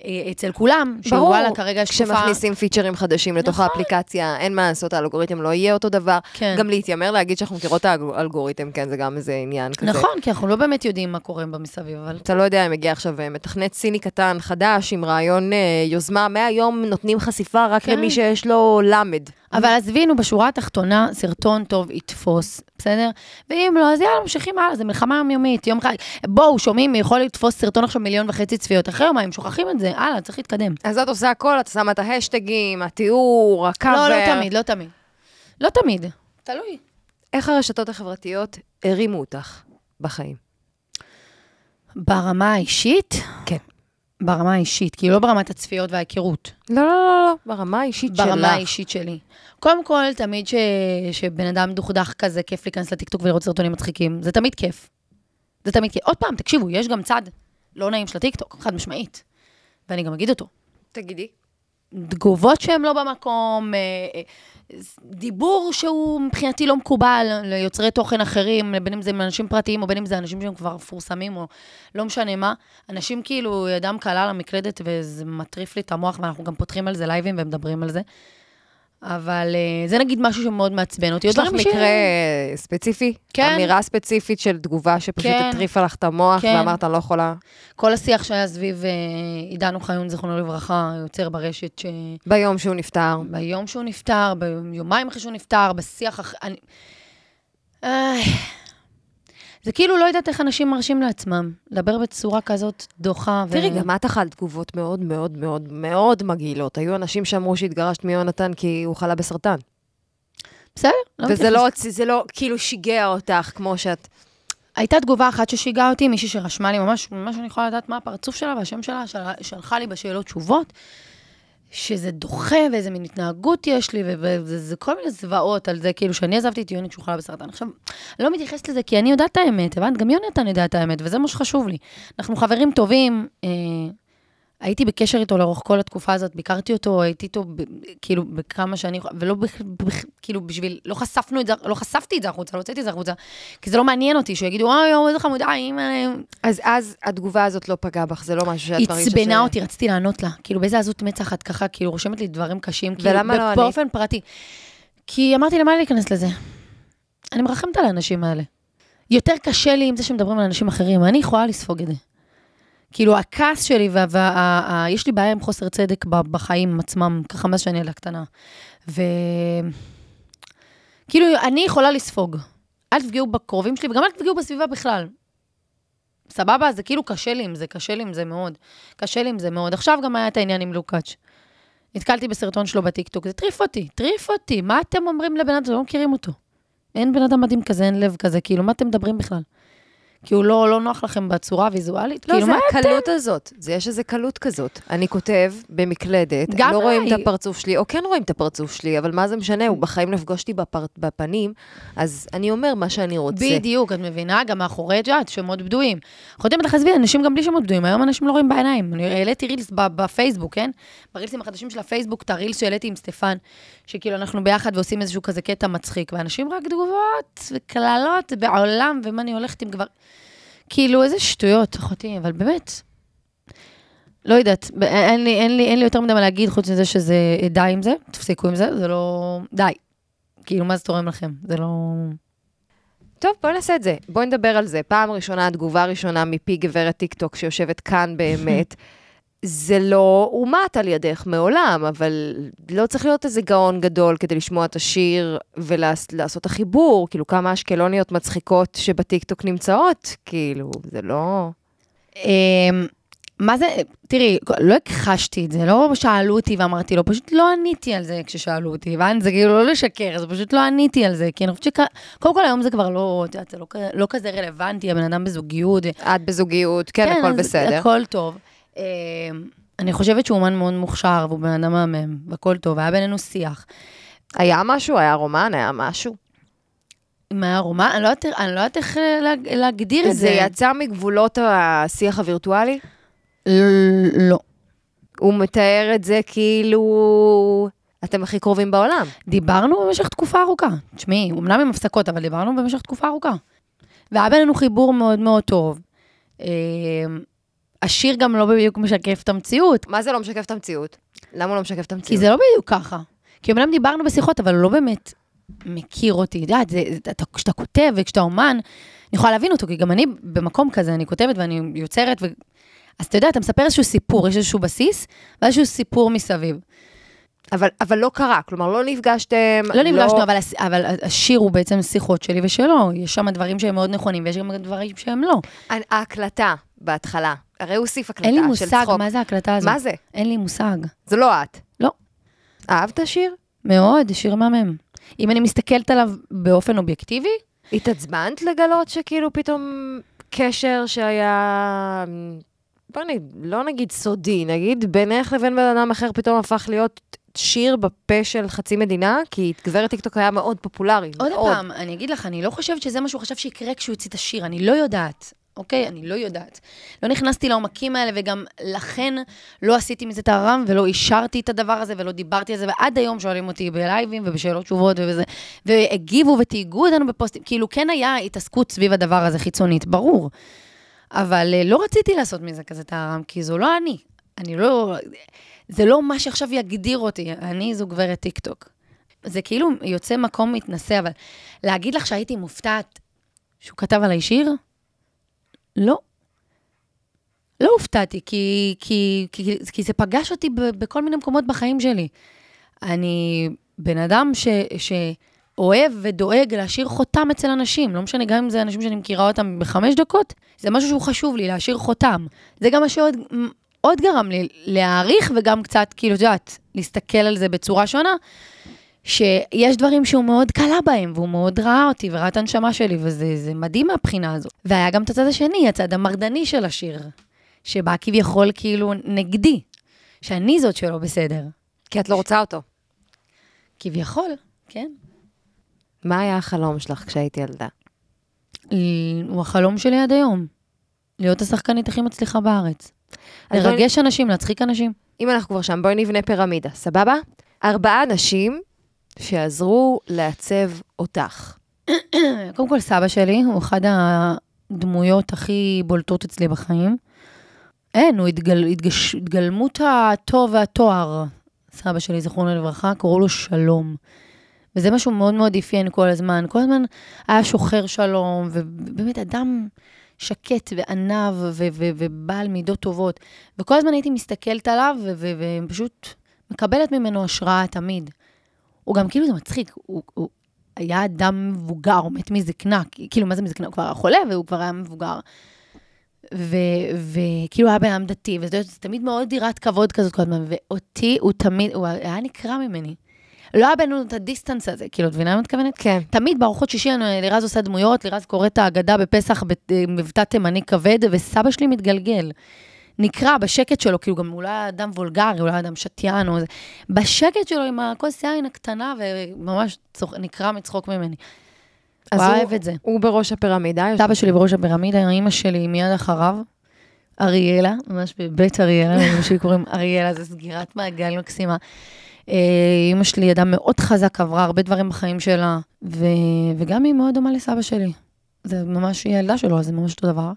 [SPEAKER 2] אה, אצל כולם,
[SPEAKER 3] ברור,
[SPEAKER 2] שוואלה, כרגע יש תקופה...
[SPEAKER 3] כשמכניסים פיצ'רים חדשים לתוך
[SPEAKER 2] נכון.
[SPEAKER 3] האפליקציה, אין מה לעשות, האלגוריתם לא יהיה אותו דבר.
[SPEAKER 2] כן.
[SPEAKER 3] גם להתיימר להגיד שאנחנו מכירות את האלגוריתם, כן, זה גם איזה עניין כזה.
[SPEAKER 2] נכון, כי אנחנו לא באמת יודעים מה קורה במסביב, אבל...
[SPEAKER 3] אתה לא יודע אם מגיע עכשיו אה, מתכנת סיני קטן, חדש, עם רעיון אה, יוזמה, מהיום נותנים חשיפה רק
[SPEAKER 2] כן.
[SPEAKER 3] למי שיש לו למד.
[SPEAKER 2] אבל עזבינו, בשורה התחתונה, סרטון טוב יתפוס, בסדר? ואם לא, אז יאללה, ממשיכים הלאה, זה מלחמה יומיומית, יום חג. בואו, שומעים, יכול לתפוס סרטון עכשיו מיליון וחצי צפיות. אחרי יומיים, שוכחים את זה, הלאה, צריך להתקדם.
[SPEAKER 3] אז את עושה הכל, את שמה את ההשטגים, התיאור, הקאבר.
[SPEAKER 2] לא, לא תמיד, לא תמיד. לא תמיד. תלוי.
[SPEAKER 3] איך הרשתות החברתיות הרימו אותך בחיים?
[SPEAKER 2] ברמה האישית?
[SPEAKER 3] כן.
[SPEAKER 2] ברמה האישית, כאילו לא ברמת הצפיות וההיכרות.
[SPEAKER 3] לא, לא, לא, לא, ברמה האישית שלך.
[SPEAKER 2] ברמה האישית שלי. קודם כל, תמיד ש... שבן אדם דוכדך כזה, כיף להיכנס לטיקטוק ולראות סרטונים מצחיקים. זה תמיד כיף. זה תמיד כיף. עוד פעם, תקשיבו, יש גם צד לא נעים של הטיקטוק, חד משמעית. ואני גם אגיד אותו.
[SPEAKER 3] תגידי.
[SPEAKER 2] תגובות שהן לא במקום, אה, אה, דיבור שהוא מבחינתי לא מקובל ליוצרי תוכן אחרים, בין אם זה מאנשים פרטיים או בין אם זה אנשים שהם כבר מפורסמים או לא משנה מה. אנשים כאילו, ידם קלה על המקלדת וזה מטריף לי את המוח ואנחנו גם פותחים על זה לייבים ומדברים על זה. אבל אה, זה נגיד משהו שמאוד מעצבן אותי.
[SPEAKER 3] יש לך
[SPEAKER 2] דברים ש-
[SPEAKER 3] מקרה ספציפי?
[SPEAKER 2] כן.
[SPEAKER 3] אמירה ספציפית של תגובה שפשוט
[SPEAKER 2] כן.
[SPEAKER 3] הטריפה לך את המוח,
[SPEAKER 2] כן.
[SPEAKER 3] ואמרת, "אני לא יכולה.
[SPEAKER 2] כל השיח שהיה סביב אה, עידן אוחיון, זיכרונו לברכה, יוצר ברשת, ש...
[SPEAKER 3] ביום שהוא נפטר.
[SPEAKER 2] ביום שהוא נפטר, ביומיים אחרי שהוא נפטר, בשיח אחרי... אני... איי. זה כאילו לא יודעת איך אנשים מרשים לעצמם לדבר בצורה כזאת דוחה. ו-
[SPEAKER 3] תראי, גם את אכלת תגובות מאוד מאוד מאוד מאוד מגעילות. היו אנשים שאמרו שהתגרשת מיונתן כי הוא חלה בסרטן.
[SPEAKER 2] בסדר, לא
[SPEAKER 3] וזה
[SPEAKER 2] מתייחס.
[SPEAKER 3] לא, זה לא כאילו שיגע אותך כמו שאת...
[SPEAKER 2] הייתה תגובה אחת ששיגעה אותי, מישהי שרשמה לי ממש, ממש אני יכולה לדעת מה הפרצוף שלה והשם שלה, של... שלחה לי בשאלות תשובות, שזה דוחה ואיזה מין התנהגות יש לי, ו- וזה זה כל מיני זוועות על זה, כאילו שאני עזבתי את יוני כשהוא חלה בסרטן. עכשיו, אני לא מתייחסת לזה כי אני יודעת את האמת, הבנת? גם יונתן יודע את האמת, וזה מה שחשוב לי. אנחנו חברים טובים, אה, הייתי בקשר איתו לאורך כל התקופה הזאת, ביקרתי אותו, הייתי איתו ב- כאילו בכמה שאני, יכולה- ולא בכ- בכ- כאילו בשביל, לא חשפנו את זה, לא חשפתי את זה החוצה, לא הוצאתי את זה החוצה, כי זה לא מעניין אותי, שיגידו, אוי, אוי, איזה חמודה, אימא,
[SPEAKER 3] אז אז התגובה הזאת לא פגעה בך, זה לא משהו שאת מרגישה ש...
[SPEAKER 2] עצבנה אותי, רציתי לענות לה. כאילו, באיזה עזות מצח את ככה, כאילו, רושמת לי דברים קשים, כאילו,
[SPEAKER 3] ולמה לא ענית?
[SPEAKER 2] באופן פרטי. כי אמרתי, למה לי להיכנס לזה? אני מרחמת על האנשים האלה. יותר קשה לי עם זה שמדברים על אנשים אחרים, אני יכולה לספוג את זה. כאילו, הכעס שלי, וה, וה, ה, ה, יש לי בעיה עם חוסר צדק ב- בחיים עצמם, ככה מאז שאני ילדה קטנה. ו... כאילו, אני יכולה לספוג. אל תפגעו בקרובים שלי, וגם אל תפגעו בסביבה בכלל. סבבה? זה כאילו קשה לי עם זה, קשה לי עם זה מאוד. קשה לי עם זה מאוד. עכשיו גם היה את העניין עם לוקאץ'. נתקלתי בסרטון שלו בטיקטוק, זה טריף אותי, טריף אותי. מה אתם אומרים לבן אדם? אתם לא מכירים אותו. אין בן אדם מדהים כזה, אין לב כזה, כאילו, מה אתם מדברים בכלל? כי הוא לא, לא נוח לכם בצורה הוויזואלית?
[SPEAKER 3] לא,
[SPEAKER 2] כאילו,
[SPEAKER 3] זה
[SPEAKER 2] מה
[SPEAKER 3] הקלות הזאת. זה יש איזו קלות כזאת. אני כותב במקלדת,
[SPEAKER 2] גם
[SPEAKER 3] לא רואים את
[SPEAKER 2] עליי.
[SPEAKER 3] הפרצוף שלי, או כן רואים את הפרצוף שלי, אבל מה זה משנה, הוא בחיים לא יפגוש אותי בפר- בפנים, אז אני אומר מה שאני רוצה.
[SPEAKER 2] בדיוק, את מבינה? גם מאחורי את יודעת, שמות בדויים. חותמת לך, עזבי, אנשים גם בלי שמות בדויים, היום אנשים לא רואים בעיניים. אני העליתי רילס ב- בפייסבוק, כן? ברילסים החדשים של הפייסבוק, את הרילס שהעליתי עם סטפן, שכאילו אנחנו ביחד ועושים איזשהו כזה קטע מצחיק, ואנשים רק תגובות וקללות בעולם, ומה אני הולכת עם כבר... כאילו, איזה שטויות, אחותי, אבל באמת. לא יודעת, ב- אין לי, אין, לי, אין לי יותר מדי מה להגיד, חוץ מזה שזה, אה, די עם זה, תפסיקו עם זה, זה לא... די. כאילו, מה זה תורם לכם? זה לא...
[SPEAKER 3] טוב, בואי נעשה את זה. בואי נדבר על זה. פעם ראשונה, התגובה הראשונה מפי גברת טיקטוק שיושבת כאן באמת, זה לא אומת על ידך מעולם, אבל לא צריך להיות איזה גאון גדול כדי לשמוע את השיר ולעשות את החיבור. כאילו, כמה אשקלוניות מצחיקות שבטיקטוק נמצאות, כאילו, זה לא...
[SPEAKER 2] אמ, מה זה, תראי, לא הכחשתי את זה, לא שאלו אותי ואמרתי לא, פשוט לא עניתי על זה כששאלו אותי, הבנת? זה כאילו לא לשקר, זה פשוט לא עניתי על זה, כי אני חושבת שקודם כל היום זה כבר לא, את יודעת, זה לא, כ- לא כזה רלוונטי, הבן אדם בזוגיות.
[SPEAKER 3] את בזוגיות, כן, הכל
[SPEAKER 2] אז
[SPEAKER 3] בסדר.
[SPEAKER 2] הכל טוב. אמ, אני חושבת שהוא אומן מאוד מוכשר, והוא בן אדם מהמם, והכל טוב, היה בינינו שיח.
[SPEAKER 3] היה משהו, היה רומן, היה משהו.
[SPEAKER 2] אם היה רומן, אני לא יודעת- אני לא יודעת איך אה, לה- להגדיר את
[SPEAKER 3] זה
[SPEAKER 2] זה.
[SPEAKER 3] יצא מגבולות השיח הווירטואלי?
[SPEAKER 2] ל- לא.
[SPEAKER 3] הוא מתאר את זה כאילו... אתם הכי קרובים בעולם.
[SPEAKER 2] דיברנו במשך תקופה ארוכה. תשמעי, אמנם עם הפסקות, אבל דיברנו במשך תקופה ארוכה. והיה בינינו חיבור מאוד מאוד טוב. אה, השיר גם לא בדיוק משקף את המציאות,
[SPEAKER 3] מה זה לא משקף את המציאות? למה הוא לא משקף את המציאות?
[SPEAKER 2] כי זה לא בדיוק ככה. כי אמנם דיברנו בשיחות, אבל הוא לא באמת מכיר אותי. את יודעת, זה- זה- אתה- כשאתה כותב וכשאתה אומן, אני יכולה להבין אותו, כי גם אני במקום כזה, אני כותבת ואני יוצרת, ו... אז אתה יודע, אתה מספר איזשהו סיפור, יש איזשהו בסיס, ואיזשהו סיפור מסביב.
[SPEAKER 3] אבל, אבל לא קרה, כלומר, לא נפגשתם.
[SPEAKER 2] לא נפגשנו, אבל, הס- אבל השיר הוא בעצם שיחות שלי ושלו. יש שם דברים שהם מאוד נכונים, ויש גם דברים שהם לא.
[SPEAKER 3] הנ- אה, ההקלטה בהתחלה, הרי הוא הוסיף הקלטה
[SPEAKER 2] אין לי
[SPEAKER 3] של
[SPEAKER 2] מושג
[SPEAKER 3] צחוק.
[SPEAKER 2] מה זה ההקלטה הזאת.
[SPEAKER 3] מה זה?
[SPEAKER 2] אין לי מושג.
[SPEAKER 3] זה לא את.
[SPEAKER 2] לא.
[SPEAKER 3] אהבת שיר?
[SPEAKER 2] מאוד, שיר מהמם. אם אני מסתכלת עליו באופן אובייקטיבי,
[SPEAKER 3] התעצבנת לגלות שכאילו פתאום קשר שהיה, בוא נגיד, לא נגיד סודי, נגיד בינך לבין בן אדם אחר פתאום הפך להיות שיר בפה של חצי מדינה, כי גברת טיקטוק היה מאוד פופולרי.
[SPEAKER 2] עוד
[SPEAKER 3] מאוד.
[SPEAKER 2] פעם, אני אגיד לך, אני לא חושבת שזה מה שהוא חשב שיקרה כשהוא יוציא את השיר, אני לא יודעת, אוקיי? אני לא יודעת. לא נכנסתי לעומקים האלה, וגם לכן לא עשיתי מזה טהרם, ולא אישרתי את הדבר הזה, ולא דיברתי על זה, ועד היום שואלים אותי בלייבים ובשאלות תשובות ובזה, והגיבו ותהיגו אותנו בפוסטים, כאילו כן היה התעסקות סביב הדבר הזה חיצונית, ברור. אבל אה, לא רציתי לעשות מזה כזה טהרם, כי זו לא אני. אני לא... זה לא מה שעכשיו יגדיר אותי, אני זו גברת טיקטוק. זה כאילו יוצא מקום מתנשא, אבל להגיד לך שהייתי מופתעת שהוא כתב עליי שיר? לא. לא הופתעתי, כי, כי, כי, כי זה פגש אותי ב, בכל מיני מקומות בחיים שלי. אני בן אדם ש, שאוהב ודואג להשאיר חותם אצל אנשים, לא משנה, גם אם זה אנשים שאני מכירה אותם בחמש דקות, זה משהו שהוא חשוב לי, להשאיר חותם. זה גם מה שעוד עוד גרם לי להעריך, וגם קצת, כאילו, את יודעת, להסתכל על זה בצורה שונה, שיש דברים שהוא מאוד קלה בהם, והוא מאוד ראה אותי וראה את הנשמה שלי, וזה זה מדהים מהבחינה הזו. והיה גם את הצד השני, הצד המרדני של השיר, שבא כביכול כאילו נגדי, שאני זאת שלא בסדר.
[SPEAKER 3] כי את לא רוצה אותו.
[SPEAKER 2] כביכול, כן.
[SPEAKER 3] מה היה החלום שלך כשהייתי ילדה?
[SPEAKER 2] ל- הוא החלום שלי עד היום, להיות השחקנית הכי מצליחה בארץ.
[SPEAKER 3] אז בואי-
[SPEAKER 2] לרגש אנשים, להצחיק אנשים.
[SPEAKER 3] אם אנחנו כבר שם, בואי נבנה פירמידה, סבבה? ארבעה אנשים שעזרו לעצב אותך.
[SPEAKER 2] קודם כל, סבא שלי הוא אחד הדמויות הכי בולטות אצלי בחיים. אין, הוא התגל, התגש, התגלמות הטוב והתואר. סבא שלי, זכרונו לברכה, קראו לו שלום. וזה מה שהוא מאוד מאוד אפיין כל הזמן. כל הזמן היה שוחר שלום, ובאמת אדם שקט ועניו ו- ו- ובעל מידות טובות. וכל הזמן הייתי מסתכלת עליו ו- ו- ופשוט מקבלת ממנו השראה תמיד. הוא גם כאילו, זה מצחיק, הוא, הוא היה אדם מבוגר, הוא מת מזקנה, כאילו, מה זה מזקנה? הוא כבר היה חולה והוא כבר היה מבוגר. ו- וכאילו היה בן אדם דתי, וזה זה תמיד מאוד יראת כבוד כזאת כל הזמן, ואותי הוא תמיד, הוא היה נקרע ממני. לא היה בינינו את הדיסטנס הזה, כאילו, את מבינה מה אני מתכוונת?
[SPEAKER 3] כן.
[SPEAKER 2] תמיד בארוחות שישי אני- לירז עושה דמויות, לירז קוראת את ההגדה בפסח במבטא תימני כבד, וסבא שלי מתגלגל. נקרע בשקט שלו, כאילו גם הוא לא היה אדם וולגרי, הוא לא היה אדם שתיין או איזה... בשקט שלו עם הכוס יין הקטנה, וממש צוח, נקרע מצחוק ממני.
[SPEAKER 3] אז
[SPEAKER 2] הוא
[SPEAKER 3] הוא-
[SPEAKER 2] אהב את זה.
[SPEAKER 3] הוא בראש הפירמידה, יש-
[SPEAKER 2] סבא שלי בראש הפירמידה, אימא שלי מיד אחריו, אריאלה, ממש בבית אריאלה, אימא שלי קוראים אריאלה, זו סגירת מעגל מקסימה. אה, אימא שלי אדם מאוד חזק, עברה הרבה דברים בחיים שלה, ו... וגם היא מאוד דומה לסבא שלי. זה ממש, היא הילדה שלו, אז זה ממש אותו דבר.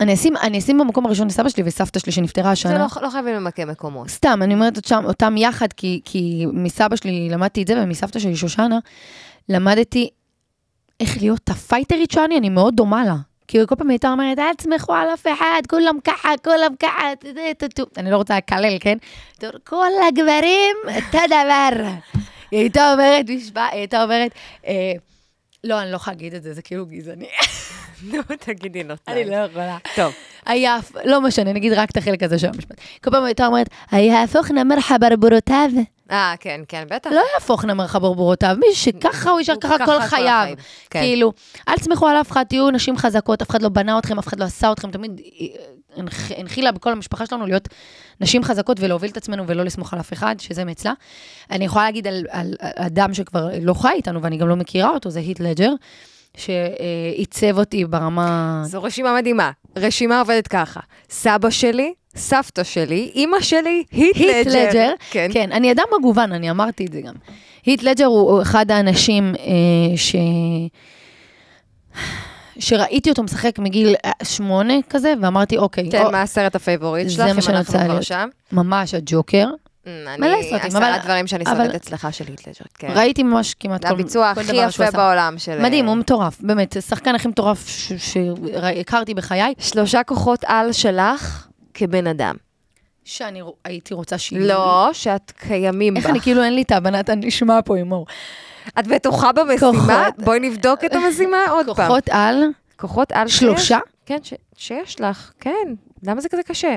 [SPEAKER 2] אני אשים, אני אשים במקום הראשון את סבא שלי וסבתא שלי שנפטרה השנה.
[SPEAKER 3] זה לא- לא חייבים למקם מקומות.
[SPEAKER 2] סתם, אני אומרת אותם, אותם יחד, כי, כי מסבא שלי למדתי את זה, ומסבתא שלי, שושנה, למדתי איך להיות הפייטרית שאני, אני מאוד דומה לה. כאילו, כל פעם הייתה אומרת, אל תסמכו על אף אחד, כולם ככה, כולם ככה, זה, טו, טו." אני לא רוצה לקלל, כן? כל הגברים, אותו דבר. היא הייתה אומרת, משפט, היא הייתה אומרת, "אה, לא, אני לא יכולה להגיד את זה, זה כאילו גזעני.
[SPEAKER 3] נו, תגידי לו.
[SPEAKER 2] אני לא יכולה.
[SPEAKER 3] טוב.
[SPEAKER 2] היה, לא משנה, נגיד רק את החלק הזה של המשפט. כל פעם הייתה אומרת, יהפוכנה מרחה ברבורותיו.
[SPEAKER 3] אה, כן, כן, בטח.
[SPEAKER 2] לא יהפוכנה מרחה ברבורותיו, מי שככה הוא יישאר
[SPEAKER 3] הוא
[SPEAKER 2] ככה כל חייו.
[SPEAKER 3] כן.
[SPEAKER 2] כאילו, אל תסמכו על אף אחד, תהיו נשים חזקות, אף אחד לא בנה אתכם, אף אחד לא עשה אתכם, תמיד אה, הנח- הנחילה בכל המשפחה שלנו להיות נשים חזקות ולהוביל את עצמנו ולא לסמוך על אף אחד, שזה מאצלה. אני יכולה להגיד על, על, על אדם שכבר לא חי איתנו ואני גם לא מכירה אותו, זה היט לג'ר, שעיצב אותי ברמה...
[SPEAKER 3] זו רשימה מדהימה. רשימה עובדת ככה. סבא שלי, סבתא שלי, אימא שלי, היט
[SPEAKER 2] היט לג'ר,
[SPEAKER 3] כן.
[SPEAKER 2] כן, אני אדם מגוון, אני אמרתי את זה גם. היט לג'ר הוא הוא אחד האנשים אה, ש... שראיתי אותו משחק מגיל אה, שמונה כזה, ואמרתי, אוקיי,
[SPEAKER 3] תן,
[SPEAKER 2] או-
[SPEAKER 3] כן, מה הסרט הפייבוריט
[SPEAKER 2] זה
[SPEAKER 3] שלך,
[SPEAKER 2] מה
[SPEAKER 3] אם
[SPEAKER 2] שאני
[SPEAKER 3] אנחנו
[SPEAKER 2] רוצה
[SPEAKER 3] כבר
[SPEAKER 2] להיות.
[SPEAKER 3] שם?
[SPEAKER 2] ממש הג'וקר.
[SPEAKER 3] Mm,
[SPEAKER 2] מלא
[SPEAKER 3] אני,
[SPEAKER 2] סרטים,
[SPEAKER 3] עשרה
[SPEAKER 2] אבל-
[SPEAKER 3] דברים שאני
[SPEAKER 2] אבל-
[SPEAKER 3] שורדת אצלך של היטלג'ר, כן.
[SPEAKER 2] ראיתי ממש כמעט
[SPEAKER 3] זה
[SPEAKER 2] כל כל דבר שהוא
[SPEAKER 3] הביצוע
[SPEAKER 2] עשה.
[SPEAKER 3] הכי יפה בעולם של...
[SPEAKER 2] מדהים, הוא מטורף, באמת, השחקן הכי מטורף ש- שהכרתי בחיי,
[SPEAKER 3] שלושה כוחות על שלך כבן אדם.
[SPEAKER 2] שאני רוא- הייתי רוצה שיהיו.
[SPEAKER 3] לא, שאת קיימים
[SPEAKER 2] איך
[SPEAKER 3] בך.
[SPEAKER 2] אני כאילו אין לי את הבנת הנשמע פה עם אור.
[SPEAKER 3] את בטוחה במשימה?
[SPEAKER 2] כוחות-
[SPEAKER 3] בואי נבדוק את המשימה עוד פעם.
[SPEAKER 2] כוחות על,
[SPEAKER 3] כוחות על שיש-
[SPEAKER 2] שלושה?
[SPEAKER 3] כן, ש- שיש לך, כן. למה זה כזה קשה?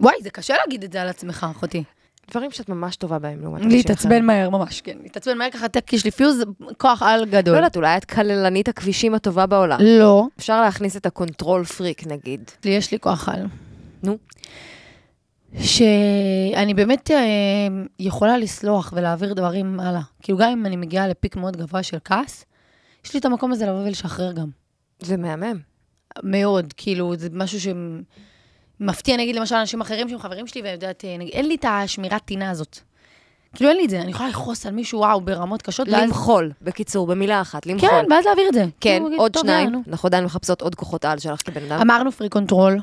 [SPEAKER 2] וואי, זה קשה להגיד את זה על עצמך, אחותי.
[SPEAKER 3] דברים שאת ממש טובה בהם לעומת אנשים
[SPEAKER 2] להתעצבן מהר, ממש, כן. להתעצבן מהר ככה, טק, יש לי פיוז, כוח על
[SPEAKER 3] לא
[SPEAKER 2] גדול.
[SPEAKER 3] יודעת, אולי את כללנית הכבישים הטובה בעולם.
[SPEAKER 2] לא,
[SPEAKER 3] אפשר להכניס את הקונטרול פריק, נגיד.
[SPEAKER 2] לי יש לי כוח על.
[SPEAKER 3] נו.
[SPEAKER 2] שאני באמת אה, יכולה לסלוח ולהעביר דברים הלאה. כאילו, גם אם אני מגיעה לפיק מאוד גבוה של כעס, יש לי את המקום הזה לבוא ולשחרר גם.
[SPEAKER 3] זה מהמם.
[SPEAKER 2] מאוד, כאילו, זה משהו שמפתיע, נגיד, למשל, אנשים אחרים שהם חברים שלי, ואני יודעת, אה, נגיד, אין לי את השמירת טינה הזאת. כאילו, אין לי את זה, אני יכולה לכעוס על מישהו, וואו, ברמות קשות,
[SPEAKER 3] לא
[SPEAKER 2] ואז...
[SPEAKER 3] למחול, בקיצור, במילה אחת, למחול.
[SPEAKER 2] כן, ואז להעביר את זה.
[SPEAKER 3] כן,
[SPEAKER 2] כאילו, להגיד,
[SPEAKER 3] עוד
[SPEAKER 2] "טוב,
[SPEAKER 3] שניים.
[SPEAKER 2] יאללה, נו."
[SPEAKER 3] אנחנו עדיין מחפשות עוד כוחות על שלך כבן אדם.
[SPEAKER 2] אמרנו פרי קונטרול.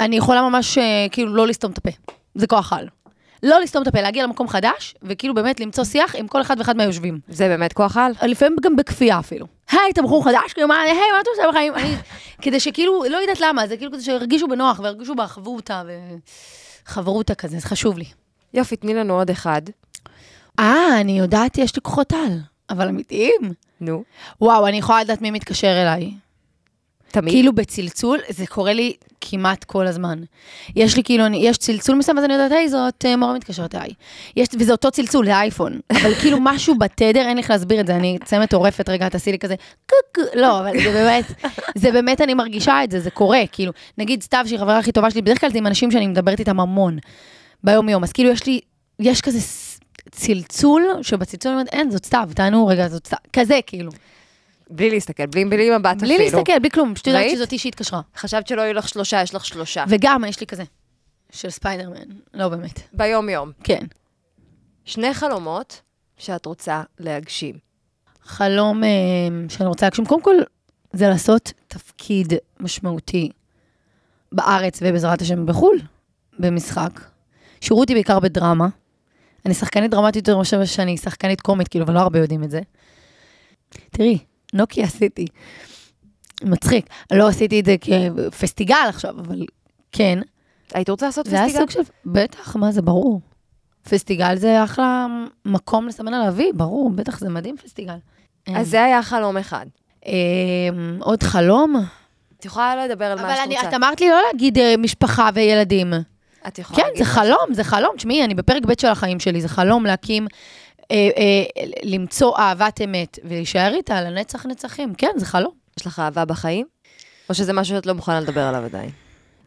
[SPEAKER 2] אני יכולה ממש, אה, כאילו, לא לסתום את הפה. זה כוח על. לא לסתום את הפה, להגיע למקום חדש, וכאילו באמת למצוא שיח עם כל אחד ואחד מהיושבים.
[SPEAKER 3] זה באמת כוח על?
[SPEAKER 2] לפעמים גם בכפייה אפילו. היי, אתה בחור חדש? כאילו, מה, היי, מה אתה עושה בחיים? אני... כדי שכאילו, לא יודעת למה, זה כאילו כדי שירגישו בנוח וירגישו בחברותה, ו... חברותה כזה, זה חשוב לי.
[SPEAKER 3] יופי, תני לנו עוד אחד.
[SPEAKER 2] אה, אני יודעת, יש לי כוחות על, אבל אמיתיים.
[SPEAKER 3] נו,
[SPEAKER 2] וואו, אני יכולה לדעת מי מתקשר אליי.
[SPEAKER 3] תמיד.
[SPEAKER 2] כאילו בצלצול, זה קורה לי כמעט כל הזמן. יש לי כאילו, אני- יש צלצול מסוים, אז אני יודעת, היי, זאת אה, מורה מתקשרת אליי. יש, וזה אותו צלצול, זה אייפון. אבל כאילו משהו בתדר, אין לי איך להסביר את זה, אני צא מטורפת, רגע, תעשי לי כזה, קוק, לא, אבל זה באמת, זה באמת, אני מרגישה את זה, זה קורה, כאילו. נגיד סתיו, שהיא חברה הכי טובה שלי, בדרך כלל זה עם אנשים שאני מדברת איתם המון ביום-יום, אז כאילו יש לי, יש כזה ס- צלצול, שבצלצול אני אומרת, אין, זאת סתיו, תענו רגע, זאת סתיו, כזה, כאילו.
[SPEAKER 3] בלי להסתכל, בלי בלי מבט אפילו.
[SPEAKER 2] בלי להסתכל, בלי כלום, שתדעת
[SPEAKER 3] ראית?
[SPEAKER 2] שזאת היא שהתקשרה.
[SPEAKER 3] חשבת שלא יהיו לך שלושה, יש לך שלושה.
[SPEAKER 2] וגם יש לי כזה, של ספיידרמן, לא באמת.
[SPEAKER 3] ביום-יום.
[SPEAKER 2] כן.
[SPEAKER 3] שני חלומות שאת רוצה להגשים.
[SPEAKER 2] חלום אה, שאני רוצה להגשים, קודם כל, זה לעשות תפקיד משמעותי בארץ ובעזרת השם בחו"ל, במשחק. שירו אותי בעיקר בדרמה. אני שחקנית דרמטית יותר מאשר שאני שחקנית קומית, כאילו, אבל לא הרבה יודעים את זה. תראי, נוקי עשיתי. מצחיק. לא עשיתי את זה כפסטיגל עכשיו, אבל כן.
[SPEAKER 3] היית רוצה לעשות
[SPEAKER 2] זה היה
[SPEAKER 3] פסטיגל?
[SPEAKER 2] סוג של... בטח, מה זה, ברור. פסטיגל זה אחלה מקום לסמן על אבי, ברור, בטח, זה מדהים פסטיגל.
[SPEAKER 3] אז זה היה חלום אחד.
[SPEAKER 2] אמ, עוד חלום?
[SPEAKER 3] את יכולה לדבר על
[SPEAKER 2] אבל
[SPEAKER 3] מה שאת
[SPEAKER 2] אני- את
[SPEAKER 3] רוצה.
[SPEAKER 2] אמרת לי לא להגיד אה, משפחה וילדים.
[SPEAKER 3] את יכולה
[SPEAKER 2] כן,
[SPEAKER 3] להגיד.
[SPEAKER 2] זה חלום, זה חלום. תשמעי, אני בפרק ב' של החיים שלי, זה חלום להקים, אה, אה, למצוא אהבת אמת ולהישאר איתה לנצח נצחים. כן, זה חלום.
[SPEAKER 3] יש לך אהבה בחיים? או שזה משהו שאת לא מוכנה לדבר עליו עדיין?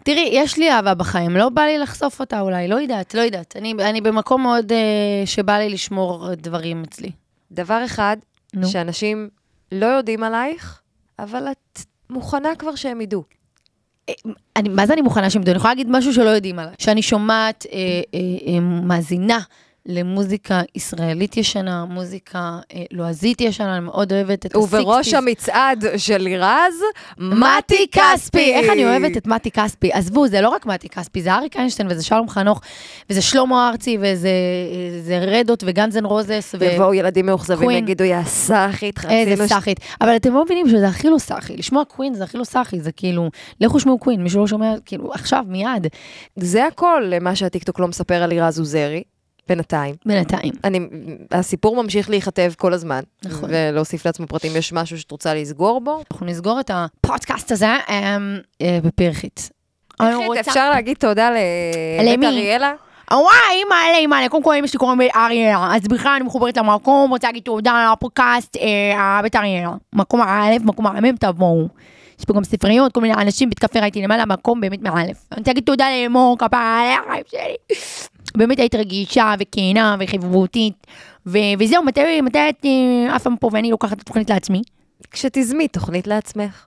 [SPEAKER 2] תראי, יש לי אהבה בחיים, לא בא לי לחשוף אותה אולי, לא יודעת, לא יודעת. אני, אני במקום מאוד אה, שבא לי לשמור דברים אצלי.
[SPEAKER 3] דבר אחד,
[SPEAKER 2] נו.
[SPEAKER 3] שאנשים לא יודעים עלייך, אבל את מוכנה כבר שהם ידעו.
[SPEAKER 2] אני, מה זה אני מוכנה שהם ידעו? אני יכולה להגיד משהו שלא יודעים עליי. שאני שומעת, אה, אה, אה, מאזינה למוזיקה ישראלית ישנה, מוזיקה אה, לועזית ישנה, אני מאוד אוהבת את
[SPEAKER 3] ובראש
[SPEAKER 2] ה-sixties.
[SPEAKER 3] המצעד של לירז,
[SPEAKER 2] מתי כספי! איך אני אוהבת את מתי כספי. עזבו, זה לא רק מתי כספי, זה אריק איינשטיין וזה שלום חנוך, וזה שלמה ארצי, וזה אה, זה רדות וגנזן רוזס. ו-
[SPEAKER 3] יבואו ילדים מאוכזבים,
[SPEAKER 2] קווין.
[SPEAKER 3] יגידו, יא סאחית,
[SPEAKER 2] איזה
[SPEAKER 3] חצינו ש-
[SPEAKER 2] סאחית. אבל אתם לא מבינים שזה הכי לא סאחי. לשמוע קווין זה הכי לא סאחי, זה כאילו, לכו שמעו קווין, מי שלא שומע, כאילו, עכשיו, מיד,
[SPEAKER 3] זה הכל מה שהטיקטוק לא מספר על לירז עוזרי, בינתיים.
[SPEAKER 2] בינתיים.
[SPEAKER 3] אני, הסיפור ממשיך להיכתב כל הזמן.
[SPEAKER 2] נכון.
[SPEAKER 3] ולהוסיף לעצמו פרטים, יש משהו שאת רוצה לסגור בו?
[SPEAKER 2] אנחנו נסגור את הפודקאסט הזה אמ, אה, בפרחית. אני רוצה...
[SPEAKER 3] אפשר להגיד תודה ל...
[SPEAKER 2] למי?
[SPEAKER 3] בית אריאלה?
[SPEAKER 2] וואי, אימא'לה, אימא'לה, קודם כל אמא שלי קוראים בית אריאלה, אז בכלל אני מחוברת למקום, רוצה להגיד תודה על הפודקאסט אה, בית אריאלה. מקום האלף, מקום המ"ם, תבואו. יש פה גם ספריות, כל מיני אנשים, בית קפה ראיתי למעלה, מקום באמת מאלף. אני רוצה להגיד תודה לאמור, כפרה על החיים שלי. באמת היית רגישה וכנה וחברותית, ו- וזהו, מתי מתי את אה, עפה מפה ואני לוקחת את התוכנית לעצמי?
[SPEAKER 3] כשתזמי תוכנית לעצמך.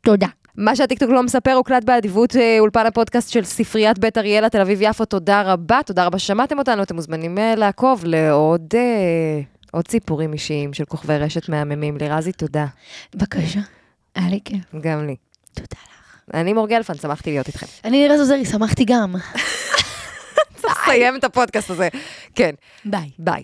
[SPEAKER 2] תודה.
[SPEAKER 3] מה שהטיקטוק לא מספר הוקלט באדיבות אה, אולפן הפודקאסט של ספריית בית אריאלה תל אביב-יפו, תודה רבה, תודה רבה ששמעתם אותנו, אתם מוזמנים אה, לעקוב לעוד אה, עוד סיפורים אישיים של כוכבי רשת מהממים. לירזי, תודה.
[SPEAKER 2] בבקשה. היה לי כיף.
[SPEAKER 3] גם לי.
[SPEAKER 2] תודה לך.
[SPEAKER 3] אני מור גלפן, שמחתי להיות איתכם.
[SPEAKER 2] אני נראה זוזרי, שמחתי גם.
[SPEAKER 3] צריך לסיים את הפודקאסט הזה. כן,
[SPEAKER 2] ביי.
[SPEAKER 3] ביי.